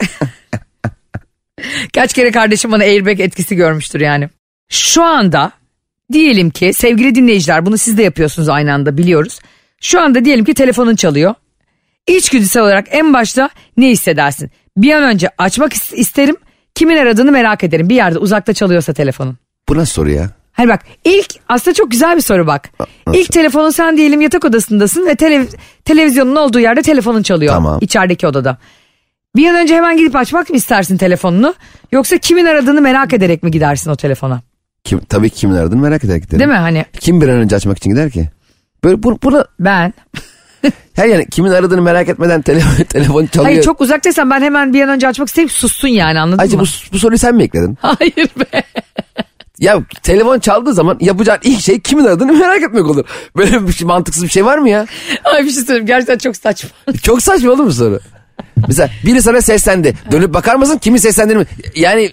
Speaker 1: Kaç kere kardeşim bana airbag etkisi görmüştür yani. Şu anda diyelim ki sevgili dinleyiciler bunu siz de yapıyorsunuz aynı anda biliyoruz. Şu anda diyelim ki telefonun çalıyor. İçgüdüsel olarak en başta ne hissedersin? Bir an önce açmak is- isterim. Kimin aradığını merak ederim. Bir yerde uzakta çalıyorsa telefonun.
Speaker 4: Bu nasıl soru ya?
Speaker 1: Hani bak ilk aslında çok güzel bir soru bak.
Speaker 4: nasıl?
Speaker 1: İlk telefonun sen diyelim yatak odasındasın ve telev- televizyonun olduğu yerde telefonun çalıyor.
Speaker 4: Tamam.
Speaker 1: içerideki odada. Bir an önce hemen gidip açmak mı istersin telefonunu? Yoksa kimin aradığını merak ederek mi gidersin o telefona?
Speaker 4: Kim, tabii ki kimin aradığını merak ederek giderim.
Speaker 1: Değil mi hani
Speaker 4: Kim bir an önce açmak için gider ki? Böyle bu, buna
Speaker 1: ben.
Speaker 4: her yani kimin aradığını merak etmeden telefon, telefon çalıyor.
Speaker 1: Hayır çok uzaktaysan ben hemen bir an önce açmak isteyip sussun yani anladın
Speaker 4: Ayrıca
Speaker 1: mı?
Speaker 4: bu, bu soruyu sen mi ekledin?
Speaker 1: Hayır be.
Speaker 4: Ya telefon çaldığı zaman yapacağın ilk şey kimin aradığını merak etmek olur. Böyle bir şey, mantıksız bir şey var mı ya?
Speaker 1: Ay bir şey söyleyeyim gerçekten çok saçma.
Speaker 4: Çok saçma olur mu soru? Mesela biri sana seslendi. Dönüp bakar mısın? Kimin seslendiğini mi? Yani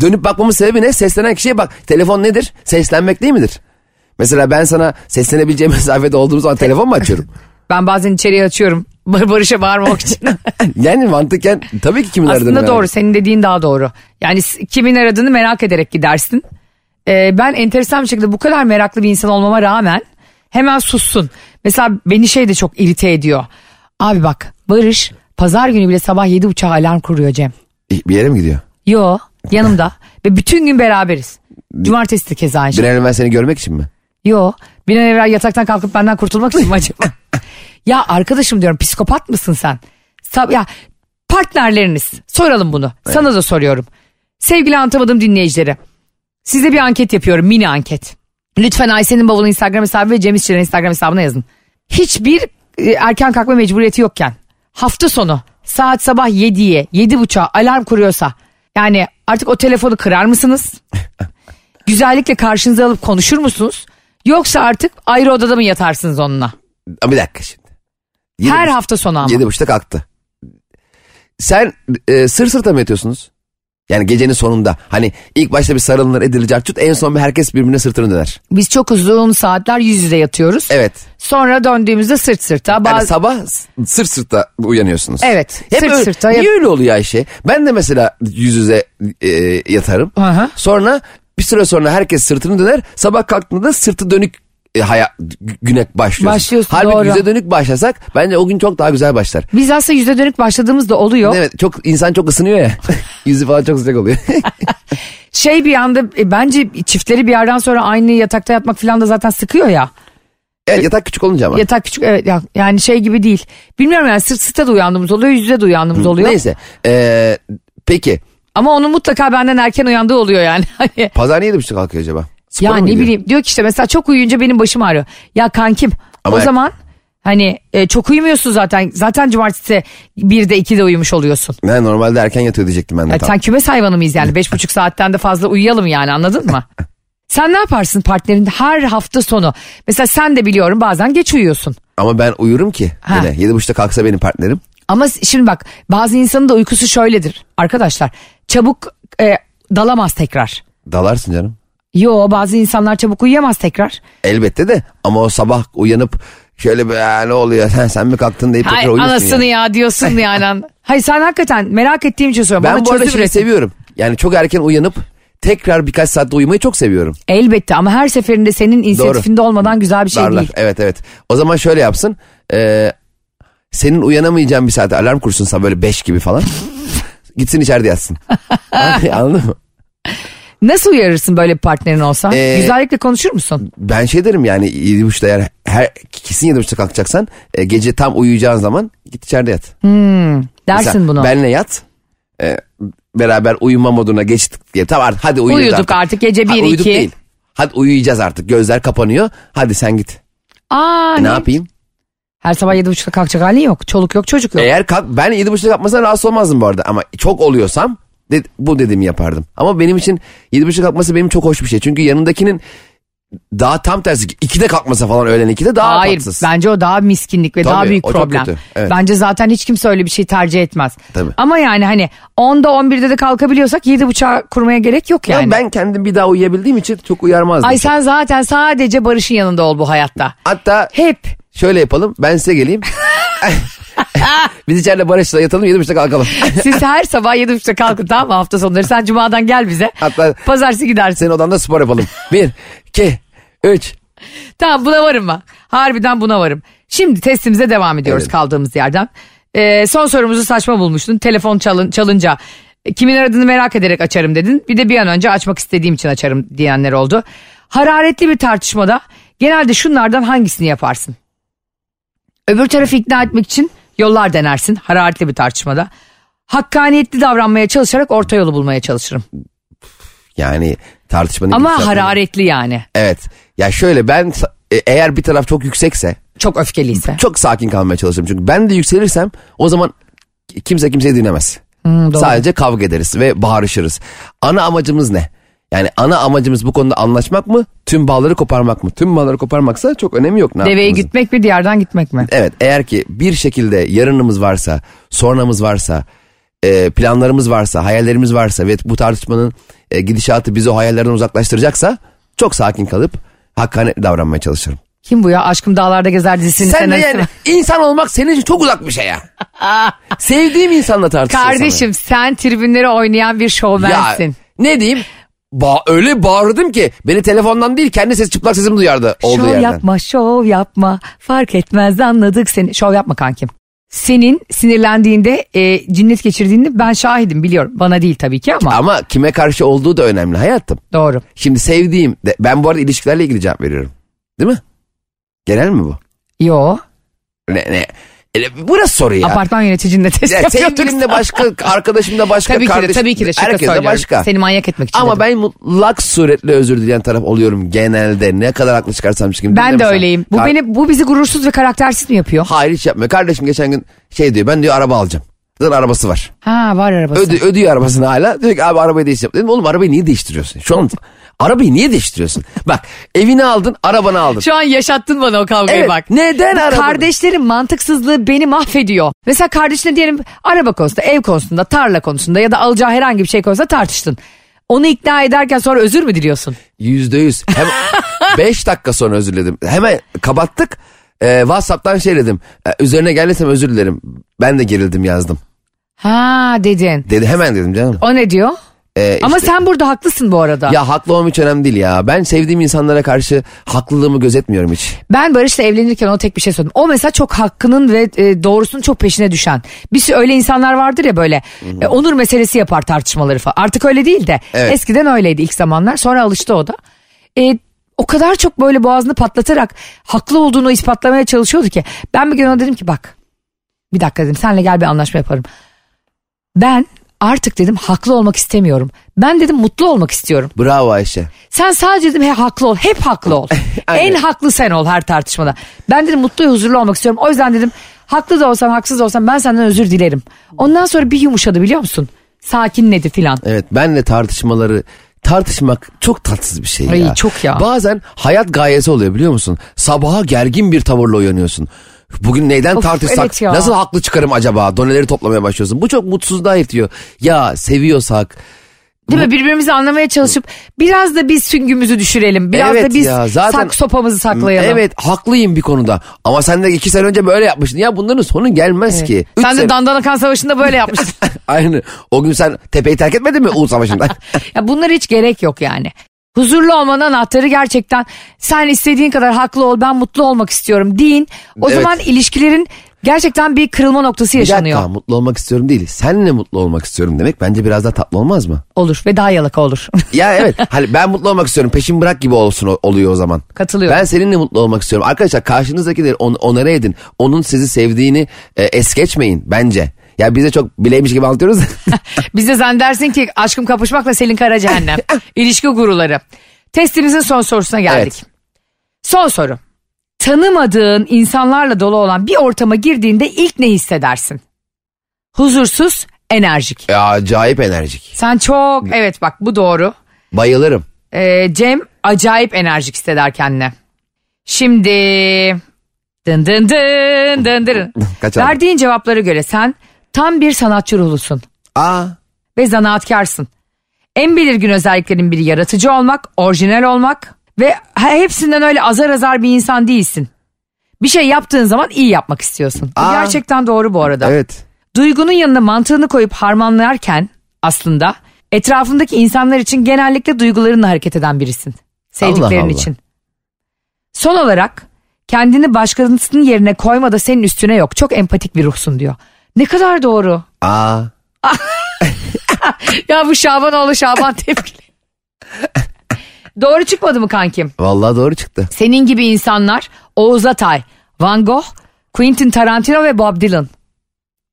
Speaker 4: dönüp bakmamın sebebi ne? Seslenen kişiye bak. Telefon nedir? Seslenmek değil midir? Mesela ben sana seslenebileceğim mesafede olduğum zaman telefon mu açıyorum?
Speaker 1: Ben bazen içeriye açıyorum Bar- Barış'a bağırmak için.
Speaker 4: Yani mantıken tabii ki kimin aradığını
Speaker 1: Aslında
Speaker 4: merak
Speaker 1: doğru senin dediğin daha doğru. Yani s- kimin aradığını merak ederek gidersin. Ee, ben enteresan bir şekilde bu kadar meraklı bir insan olmama rağmen hemen sussun. Mesela beni şey de çok irite ediyor. Abi bak Barış pazar günü bile sabah 7 uçağa alarm kuruyor Cem.
Speaker 4: Bir yere mi gidiyor?
Speaker 1: Yo yanımda ve bütün gün beraberiz. Cumartesi de keza aynı şey.
Speaker 4: Bir an evvel seni görmek için mi?
Speaker 1: Yo. Bir an evvel yataktan kalkıp benden kurtulmak için mi acaba? ya arkadaşım diyorum psikopat mısın sen? Sa- ya partnerleriniz soralım bunu. Sana da soruyorum. Sevgili anlatamadığım dinleyicilere. Size bir anket yapıyorum mini anket. Lütfen Ayşe'nin bavulu Instagram hesabı ve Cem İşçilerin Instagram hesabına yazın. Hiçbir e, erken kalkma mecburiyeti yokken hafta sonu saat sabah 7'ye 7.30'a alarm kuruyorsa yani artık o telefonu kırar mısınız? güzellikle karşınıza alıp konuşur musunuz? Yoksa artık ayrı odada mı yatarsınız onunla?
Speaker 4: Ama bir dakika şimdi. Yedi
Speaker 1: Her
Speaker 4: buçuk-
Speaker 1: hafta sonu ama.
Speaker 4: Yedi buçukta kalktı. Sen e, sır sırta mı yatıyorsunuz? Yani gecenin sonunda. Hani ilk başta bir sarılınır edilecek tut en son bir herkes birbirine sırtını döner.
Speaker 1: Biz çok uzun saatler yüz yüze yatıyoruz.
Speaker 4: Evet.
Speaker 1: Sonra döndüğümüzde sırt sırta.
Speaker 4: Yani
Speaker 1: Bazı...
Speaker 4: sabah s- sırt sırta uyanıyorsunuz.
Speaker 1: Evet,
Speaker 4: Hep
Speaker 1: sırt
Speaker 4: öyle-
Speaker 1: sırta yat-
Speaker 4: Niye öyle oluyor Ayşe? Ben de mesela yüz yüze e, yatarım.
Speaker 1: Aha.
Speaker 4: Sonra bir süre sonra herkes sırtını döner. Sabah kalktığında sırtı dönük e, haya, gü- güne başlıyorsun.
Speaker 1: Başlıyorsun,
Speaker 4: Halbuki
Speaker 1: doğru.
Speaker 4: yüze dönük başlasak bence o gün çok daha güzel başlar.
Speaker 1: Biz aslında yüze dönük başladığımızda oluyor.
Speaker 4: Evet çok insan çok ısınıyor ya. Yüzü falan çok sıcak oluyor.
Speaker 1: Şey bir anda e, bence çiftleri bir yerden sonra aynı yatakta yatmak falan da zaten sıkıyor ya.
Speaker 4: evet, yatak küçük olunca ama.
Speaker 1: Yatak küçük evet ya- yani şey gibi değil. Bilmiyorum yani sırt sırta da uyandığımız oluyor yüzde de uyandığımız oluyor.
Speaker 4: Neyse. Ee, peki.
Speaker 1: Ama onun mutlaka benden erken uyandığı oluyor yani. Hani
Speaker 4: Pazar niye de buçuk kalkıyor acaba? Spora
Speaker 1: ya
Speaker 4: mı
Speaker 1: ne
Speaker 4: gidiyor?
Speaker 1: bileyim diyor ki işte mesela çok uyuyunca benim başım ağrıyor. Ya kankim
Speaker 4: Ama
Speaker 1: o
Speaker 4: er-
Speaker 1: zaman hani e, çok uyumuyorsun zaten. Zaten cumartesi 1'de 2'de uyumuş oluyorsun.
Speaker 4: Ne, normalde erken yatıyor diyecektim ben de.
Speaker 1: Ya
Speaker 4: tam.
Speaker 1: Sen kümes hayvanı mıyız yani? Beş buçuk saatten de fazla uyuyalım yani anladın mı? Sen ne yaparsın partnerin her hafta sonu? Mesela sen de biliyorum bazen geç uyuyorsun.
Speaker 4: Ama ben uyurum ki.
Speaker 1: Ha.
Speaker 4: Yine. Yedi buçukta kalksa benim partnerim.
Speaker 1: Ama s- şimdi bak bazı insanın da uykusu şöyledir arkadaşlar. Çabuk e, dalamaz tekrar.
Speaker 4: Dalarsın canım.
Speaker 1: Yo bazı insanlar çabuk uyuyamaz tekrar.
Speaker 4: Elbette de ama o sabah uyanıp şöyle be "Aa, ne oluyor sen, sen mi kalktın deyip tekrar
Speaker 1: Hay
Speaker 4: uyuyorsun.
Speaker 1: anasını
Speaker 4: yani.
Speaker 1: ya, diyorsun yani. an- Hayır sen hakikaten merak ettiğim için soruyorum.
Speaker 4: Ben
Speaker 1: Bana
Speaker 4: bu arada
Speaker 1: çözüm
Speaker 4: şeyi
Speaker 1: üret.
Speaker 4: seviyorum. Yani çok erken uyanıp tekrar birkaç saatte uyumayı çok seviyorum.
Speaker 1: Elbette ama her seferinde senin inisiyatifinde olmadan güzel bir şey
Speaker 4: Darlar.
Speaker 1: değil.
Speaker 4: Evet evet. O zaman şöyle yapsın. Ee, senin uyanamayacağın bir saate alarm kursun sana böyle 5 gibi falan. Gitsin içeride yatsın. Abi, Anladın mı?
Speaker 1: Nasıl uyarırsın böyle bir partnerin olsa?
Speaker 4: Ee,
Speaker 1: Güzellikle konuşur musun?
Speaker 4: Ben şey derim yani 7.30'da eğer her, kesin 7.30'da kalkacaksan e, gece tam uyuyacağın zaman git içeride yat.
Speaker 1: Dersin
Speaker 4: Mesela
Speaker 1: bunu.
Speaker 4: Benle yat. E, beraber uyuma moduna geçtik diye. Tamam artık hadi uyuyacağız
Speaker 1: Uyuduk artık, gece
Speaker 4: Ha,
Speaker 1: bir,
Speaker 4: uyuduk
Speaker 1: iki.
Speaker 4: değil. Hadi uyuyacağız artık gözler kapanıyor. Hadi sen git.
Speaker 1: Aa,
Speaker 4: E, ne yapayım?
Speaker 1: Her sabah yedi buçukta kalkacak halin yok. Çoluk yok çocuk yok.
Speaker 4: Eğer kalk ben 7.30'da kalkmasam rahatsız olmazdım bu arada ama çok oluyorsam de- bu dediğimi yapardım. Ama benim için 7.30'da kalkması benim çok hoş bir şey. Çünkü yanındakinin daha tam tersi 2'de kalkmasa falan öğlen 2'de daha
Speaker 1: Hayır
Speaker 4: tatsız.
Speaker 1: bence o daha miskinlik ve
Speaker 4: Tabii,
Speaker 1: daha büyük
Speaker 4: o çok
Speaker 1: problem.
Speaker 4: kötü, evet.
Speaker 1: Bence zaten hiç kimse öyle bir şey tercih etmez.
Speaker 4: Tabii.
Speaker 1: Ama yani hani 10'da 11'de de kalkabiliyorsak yedi buçuğa kurmaya gerek yok
Speaker 4: Ya
Speaker 1: yani.
Speaker 4: ben kendim bir daha uyuyabildiğim için çok uyarmazdım.
Speaker 1: Ay sen zaten sadece Barış'ın yanında ol bu hayatta.
Speaker 4: Hatta
Speaker 1: Hep.
Speaker 4: şöyle yapalım ben size geleyim. Biz içeride Barış'la yatalım 7.30'da kalkalım.
Speaker 1: Siz her sabah yedi buçukta kalkın tamam mı hafta sonları? Sen cumadan gel bize.
Speaker 4: Hatta-
Speaker 1: Pazartesi gidersin.
Speaker 4: Senin odanda spor yapalım. 1, 2, 3.
Speaker 1: Tamam buna varım ben. Harbiden buna varım. Şimdi testimize devam ediyoruz
Speaker 4: Evet.
Speaker 1: kaldığımız yerden. Ee, son sorumuzu saçma bulmuştun. Telefon çalın, çalınca e, kimin aradığını merak ederek açarım dedin. Bir de bir an önce açmak istediğim için açarım diyenler oldu. Hararetli bir tartışmada genelde şunlardan hangisini yaparsın? Öbür tarafı ikna etmek için yollar denersin hararetli bir tartışmada. Hakkaniyetli davranmaya çalışarak orta yolu bulmaya çalışırım.
Speaker 4: Yani tartışmanın...
Speaker 1: Ama
Speaker 4: gidişatını-
Speaker 1: hararetli yani.
Speaker 4: Evet. Ya şöyle ben sa- e, eğer bir taraf çok yüksekse
Speaker 1: Çok öfkeliyse.
Speaker 4: çok sakin kalmaya çalışırım. Çünkü ben de yükselirsem o zaman kimse kimseyi dinlemez.
Speaker 1: doğru.
Speaker 4: Sadece kavga ederiz ve bağırışırız. Ana amacımız ne? Yani ana amacımız bu konuda anlaşmak mı? Tüm bağları koparmak mı? Tüm bağları koparmaksa çok önemi yok. Ne
Speaker 1: Deveye
Speaker 4: yaptığımızın.
Speaker 1: gitmek mi diğerden gitmek mi?
Speaker 4: Evet eğer ki bir şekilde yarınımız varsa, sonramız varsa, e, planlarımız varsa, hayallerimiz varsa ve bu tartışmanın e, gidişatı bizi o hayallerden uzaklaştıracaksa çok sakin kalıp hakkaniyetli davranmaya çalışırım.
Speaker 1: Kim bu ya? Aşkım Dağlarda Gezer dizisinin
Speaker 4: Sen de
Speaker 1: senaristi
Speaker 4: yani
Speaker 1: mi?
Speaker 4: insan olmak senin için çok uzak bir şey ya. Sevdiğim insanla tartışıyorsun.
Speaker 1: Kardeşim sen tribünlere oynayan bir
Speaker 4: ya,
Speaker 1: şovmensin.
Speaker 4: ne diyeyim? Ba- öyle bağırdım ki beni telefondan değil kendi ses çıplak sesimi duyardı olduğu
Speaker 1: şov
Speaker 4: yerden.
Speaker 1: yapma, şov yapma. Fark etmez anladık seni. Şov yapma kankim. Senin sinirlendiğinde e, cinnet geçirdiğini ben şahidim biliyorum. Bana değil tabii ki ama
Speaker 4: Ama kime karşı olduğu da önemli hayatım.
Speaker 1: doğru.
Speaker 4: Şimdi sevdiğim de ben bu arada ilişkilerle ilgili cevap veriyorum. Değil mi? Genel mi bu?
Speaker 1: Yo.
Speaker 4: Ne ne? E, burası soru ya.
Speaker 1: Apartman yöneticinle test
Speaker 4: Ya
Speaker 1: yapıyorduk.
Speaker 4: sevgilimle başka, arkadaşım da başka,
Speaker 1: Tabii ki de,
Speaker 4: kardeşim
Speaker 1: tabii ki de şaka
Speaker 4: herkes de
Speaker 1: söylüyorum.
Speaker 4: başka.
Speaker 1: Seni manyak etmek için
Speaker 4: Ama
Speaker 1: dedim.
Speaker 4: ben mutlak suretle özür dileyen taraf oluyorum genelde. Ne kadar haklı çıkarsam çıkayım.
Speaker 1: ben de
Speaker 4: dinlemesem.
Speaker 1: öyleyim. Bu
Speaker 4: Kar-
Speaker 1: beni bu bizi gurursuz ve karaktersiz mi yapıyor?
Speaker 4: Hayır hiç yapmıyor. Kardeşim geçen gün şey diyor ben diyor araba alacağım. arabası var.
Speaker 1: Ha var arabası.
Speaker 4: Ödü, ödüyor arabasını hala. Diyor ki abi arabayı değiştireceğim. Dedim oğlum arabayı niye değiştiriyorsun? Şu an arabayı niye değiştiriyorsun? Bak evini aldın arabanı aldın.
Speaker 1: Şu an yaşattın bana o kavgayı
Speaker 4: Evet,
Speaker 1: bak.
Speaker 4: neden
Speaker 1: Bu
Speaker 4: araba-
Speaker 1: Kardeşlerin mantıksızlığı beni mahvediyor. Mesela kardeşine diyelim araba konusunda, ev konusunda, tarla konusunda ya da alacağı herhangi bir şey konusunda tartıştın. Onu ikna ederken sonra özür mü diliyorsun?
Speaker 4: Yüzde yüz. Hem beş dakika sonra özür diledim. Hemen kapattık. Ee, Whatsapp'tan şey dedim. Ee, üzerine geldiysem özür dilerim. Ben de gerildim yazdım.
Speaker 1: Ha dedin.
Speaker 4: Dedi hemen dedim canım.
Speaker 1: O ne diyor?
Speaker 4: Ee,
Speaker 1: Ama
Speaker 4: işte-
Speaker 1: sen burada haklısın bu arada.
Speaker 4: Ya haklı olmam hiç önemli değil ya. Ben sevdiğim insanlara karşı haklılığımı gözetmiyorum hiç.
Speaker 1: Ben Barış'la evlenirken ona tek bir şey söyledim. O mesela çok hakkının ve e, doğrusunun çok peşine düşen. Bir sürü öyle insanlar vardır ya böyle. e, onur meselesi yapar tartışmaları falan. Artık öyle değil de.
Speaker 4: Evet.
Speaker 1: Eskiden öyleydi ilk zamanlar. Sonra alıştı o da. E, o kadar çok böyle boğazını patlatarak haklı olduğunu ispatlamaya çalışıyordu ki. Ben bir gün ona dedim ki bak. Bir dakika dedim senle gel bir anlaşma yaparım. Ben artık dedim haklı olmak istemiyorum. Ben dedim mutlu olmak istiyorum.
Speaker 4: Bravo Ayşe.
Speaker 1: Sen sadece dedim he, haklı ol. Hep haklı ol.
Speaker 4: Aynen.
Speaker 1: en haklı sen ol her tartışmada. Ben dedim mutlu ve huzurlu olmak istiyorum. O yüzden dedim haklı da olsan haksız da olsan ben senden özür dilerim. Ondan sonra bir yumuşadı biliyor musun? Sakinledi filan.
Speaker 4: Evet benle tartışmaları tartışmak çok tatsız bir şey
Speaker 1: Ay,
Speaker 4: ya.
Speaker 1: çok ya.
Speaker 4: Bazen hayat gayesi oluyor biliyor musun? Sabaha gergin bir tavırla uyanıyorsun. Bugün neyden
Speaker 1: Of,
Speaker 4: tartışsak
Speaker 1: evet ya.
Speaker 4: nasıl haklı çıkarım acaba? Doneleri toplamaya başlıyorsun. Bu çok mutsuzluğa itiyor. Ya seviyorsak
Speaker 1: Değil mi? Birbirimizi anlamaya çalışıp biraz da biz süngümüzü düşürelim. Biraz
Speaker 4: Evet
Speaker 1: da biz
Speaker 4: ya, zaten-
Speaker 1: sak sopamızı saklayalım.
Speaker 4: Evet haklıyım bir konuda. Ama sen de iki sene önce böyle yapmıştın. Ya bunların sonu gelmez
Speaker 1: Evet.
Speaker 4: ki. Üç
Speaker 1: Sen
Speaker 4: sene-
Speaker 1: de Dandanakan Savaşı'nda böyle yapmışsın.
Speaker 4: Aynı. O gün sen tepeyi terk etmedin mi Uğur Savaşı'nda?
Speaker 1: Ya bunlara hiç gerek yok yani. Huzurlu olmanın anahtarı gerçekten sen istediğin kadar haklı ol ben mutlu olmak istiyorum deyin. O
Speaker 4: Evet.
Speaker 1: zaman ilişkilerin gerçekten bir kırılma noktası
Speaker 4: bir
Speaker 1: yaşanıyor.
Speaker 4: dakika mutlu olmak istiyorum değil. Senle mutlu olmak istiyorum demek bence biraz daha tatlı olmaz mı?
Speaker 1: Olur ve daha yalaka olur.
Speaker 4: Ya evet hani ben mutlu olmak istiyorum peşin bırak gibi olsun o- oluyor o zaman.
Speaker 1: Katılıyorum.
Speaker 4: Ben seninle mutlu olmak istiyorum. Arkadaşlar karşınızdakileri on, onara edin. Onun sizi sevdiğini e, es geçmeyin bence. Ya bize çok bileymiş gibi anlatıyoruz. da.
Speaker 1: Bize zannedersin ki aşkım kapışmakla Selin Kara cehennem. İlişki guruları. Testimizin son sorusuna geldik.
Speaker 4: Evet.
Speaker 1: Son soru. Tanımadığın insanlarla dolu olan bir ortama girdiğinde ilk ne hissedersin? Huzursuz, enerjik.
Speaker 4: ya acayip enerjik.
Speaker 1: Sen çok evet bak bu doğru.
Speaker 4: Bayılırım.
Speaker 1: Ee, Cem acayip enerjik hisseder kendine. Şimdi dın dın dın dın dın.
Speaker 4: Kaç aldın?
Speaker 1: Verdiğin cevaplara göre sen tam bir sanatçı ruhlusun
Speaker 4: Aa
Speaker 1: ve zanaatkarsın. En belirgin özelliklerin biri yaratıcı olmak, orijinal olmak ve he- hepsinden öyle azar azar bir insan değilsin. Bir şey yaptığın zaman iyi yapmak istiyorsun. Bu
Speaker 4: Aa.
Speaker 1: Gerçekten doğru bu arada.
Speaker 4: evet.
Speaker 1: Duygunun yanına mantığını koyup harmanlarken aslında etrafındaki insanlar için genellikle duygularınla hareket eden birisin. Sevdiklerin
Speaker 4: Allah Allah.
Speaker 1: için. Son olarak kendini başkasının yerine koyma da senin üstüne yok. Çok empatik bir ruhsun diyor. Ne kadar doğru.
Speaker 4: Aa
Speaker 1: Ya bu Şabanoğlu Şaban tepkili. doğru çıkmadı mı kankim?
Speaker 4: vallahi doğru çıktı.
Speaker 1: Senin gibi insanlar Oğuz Atay, Van Gogh, Quentin Tarantino ve Bob Dylan.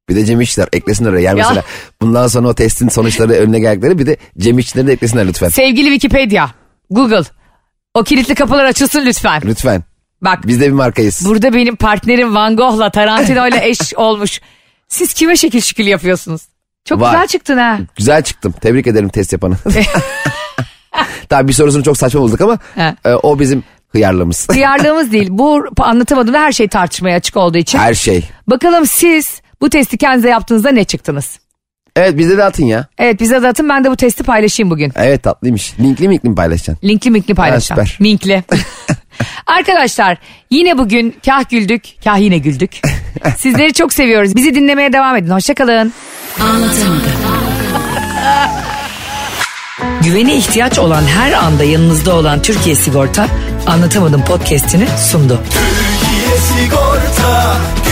Speaker 4: Bir de Cem İşçiler eklesinler oraya. Yani
Speaker 1: Ya.
Speaker 4: mesela bundan sonra o testin sonuçları önüne geldikleri bir de Cem İşçileri de eklesinler lütfen.
Speaker 1: Sevgili Wikipedia, Google o kilitli kapılar açılsın lütfen.
Speaker 4: Lütfen.
Speaker 1: Bak
Speaker 4: Biz de bir markayız.
Speaker 1: burada benim partnerim Van Gogh'la Tarantino'yla eş olmuş. Siz kime şekil şükül yapıyorsunuz? Çok
Speaker 4: Var.
Speaker 1: güzel çıktın ha.
Speaker 4: Güzel çıktım. Tebrik ederim test yapanı. Tabii bir sorusunu çok saçma bulduk ama
Speaker 1: He.
Speaker 4: e, o bizim hıyarlığımız.
Speaker 1: Duyarlılığımız değil. Bu anlatamadığım her şey tartışmaya açık olduğu için.
Speaker 4: Her şey.
Speaker 1: Bakalım siz bu testi kendinize yaptığınızda ne çıktınız?
Speaker 4: Evet bize de atın ya.
Speaker 1: Evet bize de atın ben de bu testi paylaşayım bugün.
Speaker 4: Evet tatlıymış. Linkli mi linkli mi paylaşacaksın?
Speaker 1: Linkli minkli paylaşacağım.
Speaker 4: Ha, süper.
Speaker 1: Minkli. Arkadaşlar yine bugün kah güldük kah yine güldük. Sizleri çok seviyoruz. Bizi dinlemeye devam edin. Hoşçakalın.
Speaker 5: Anlatamadım.
Speaker 1: Güvene ihtiyaç olan her anda yanınızda olan Türkiye Sigorta Anlatamadım podcastini sundu.
Speaker 2: Türkiye Sigorta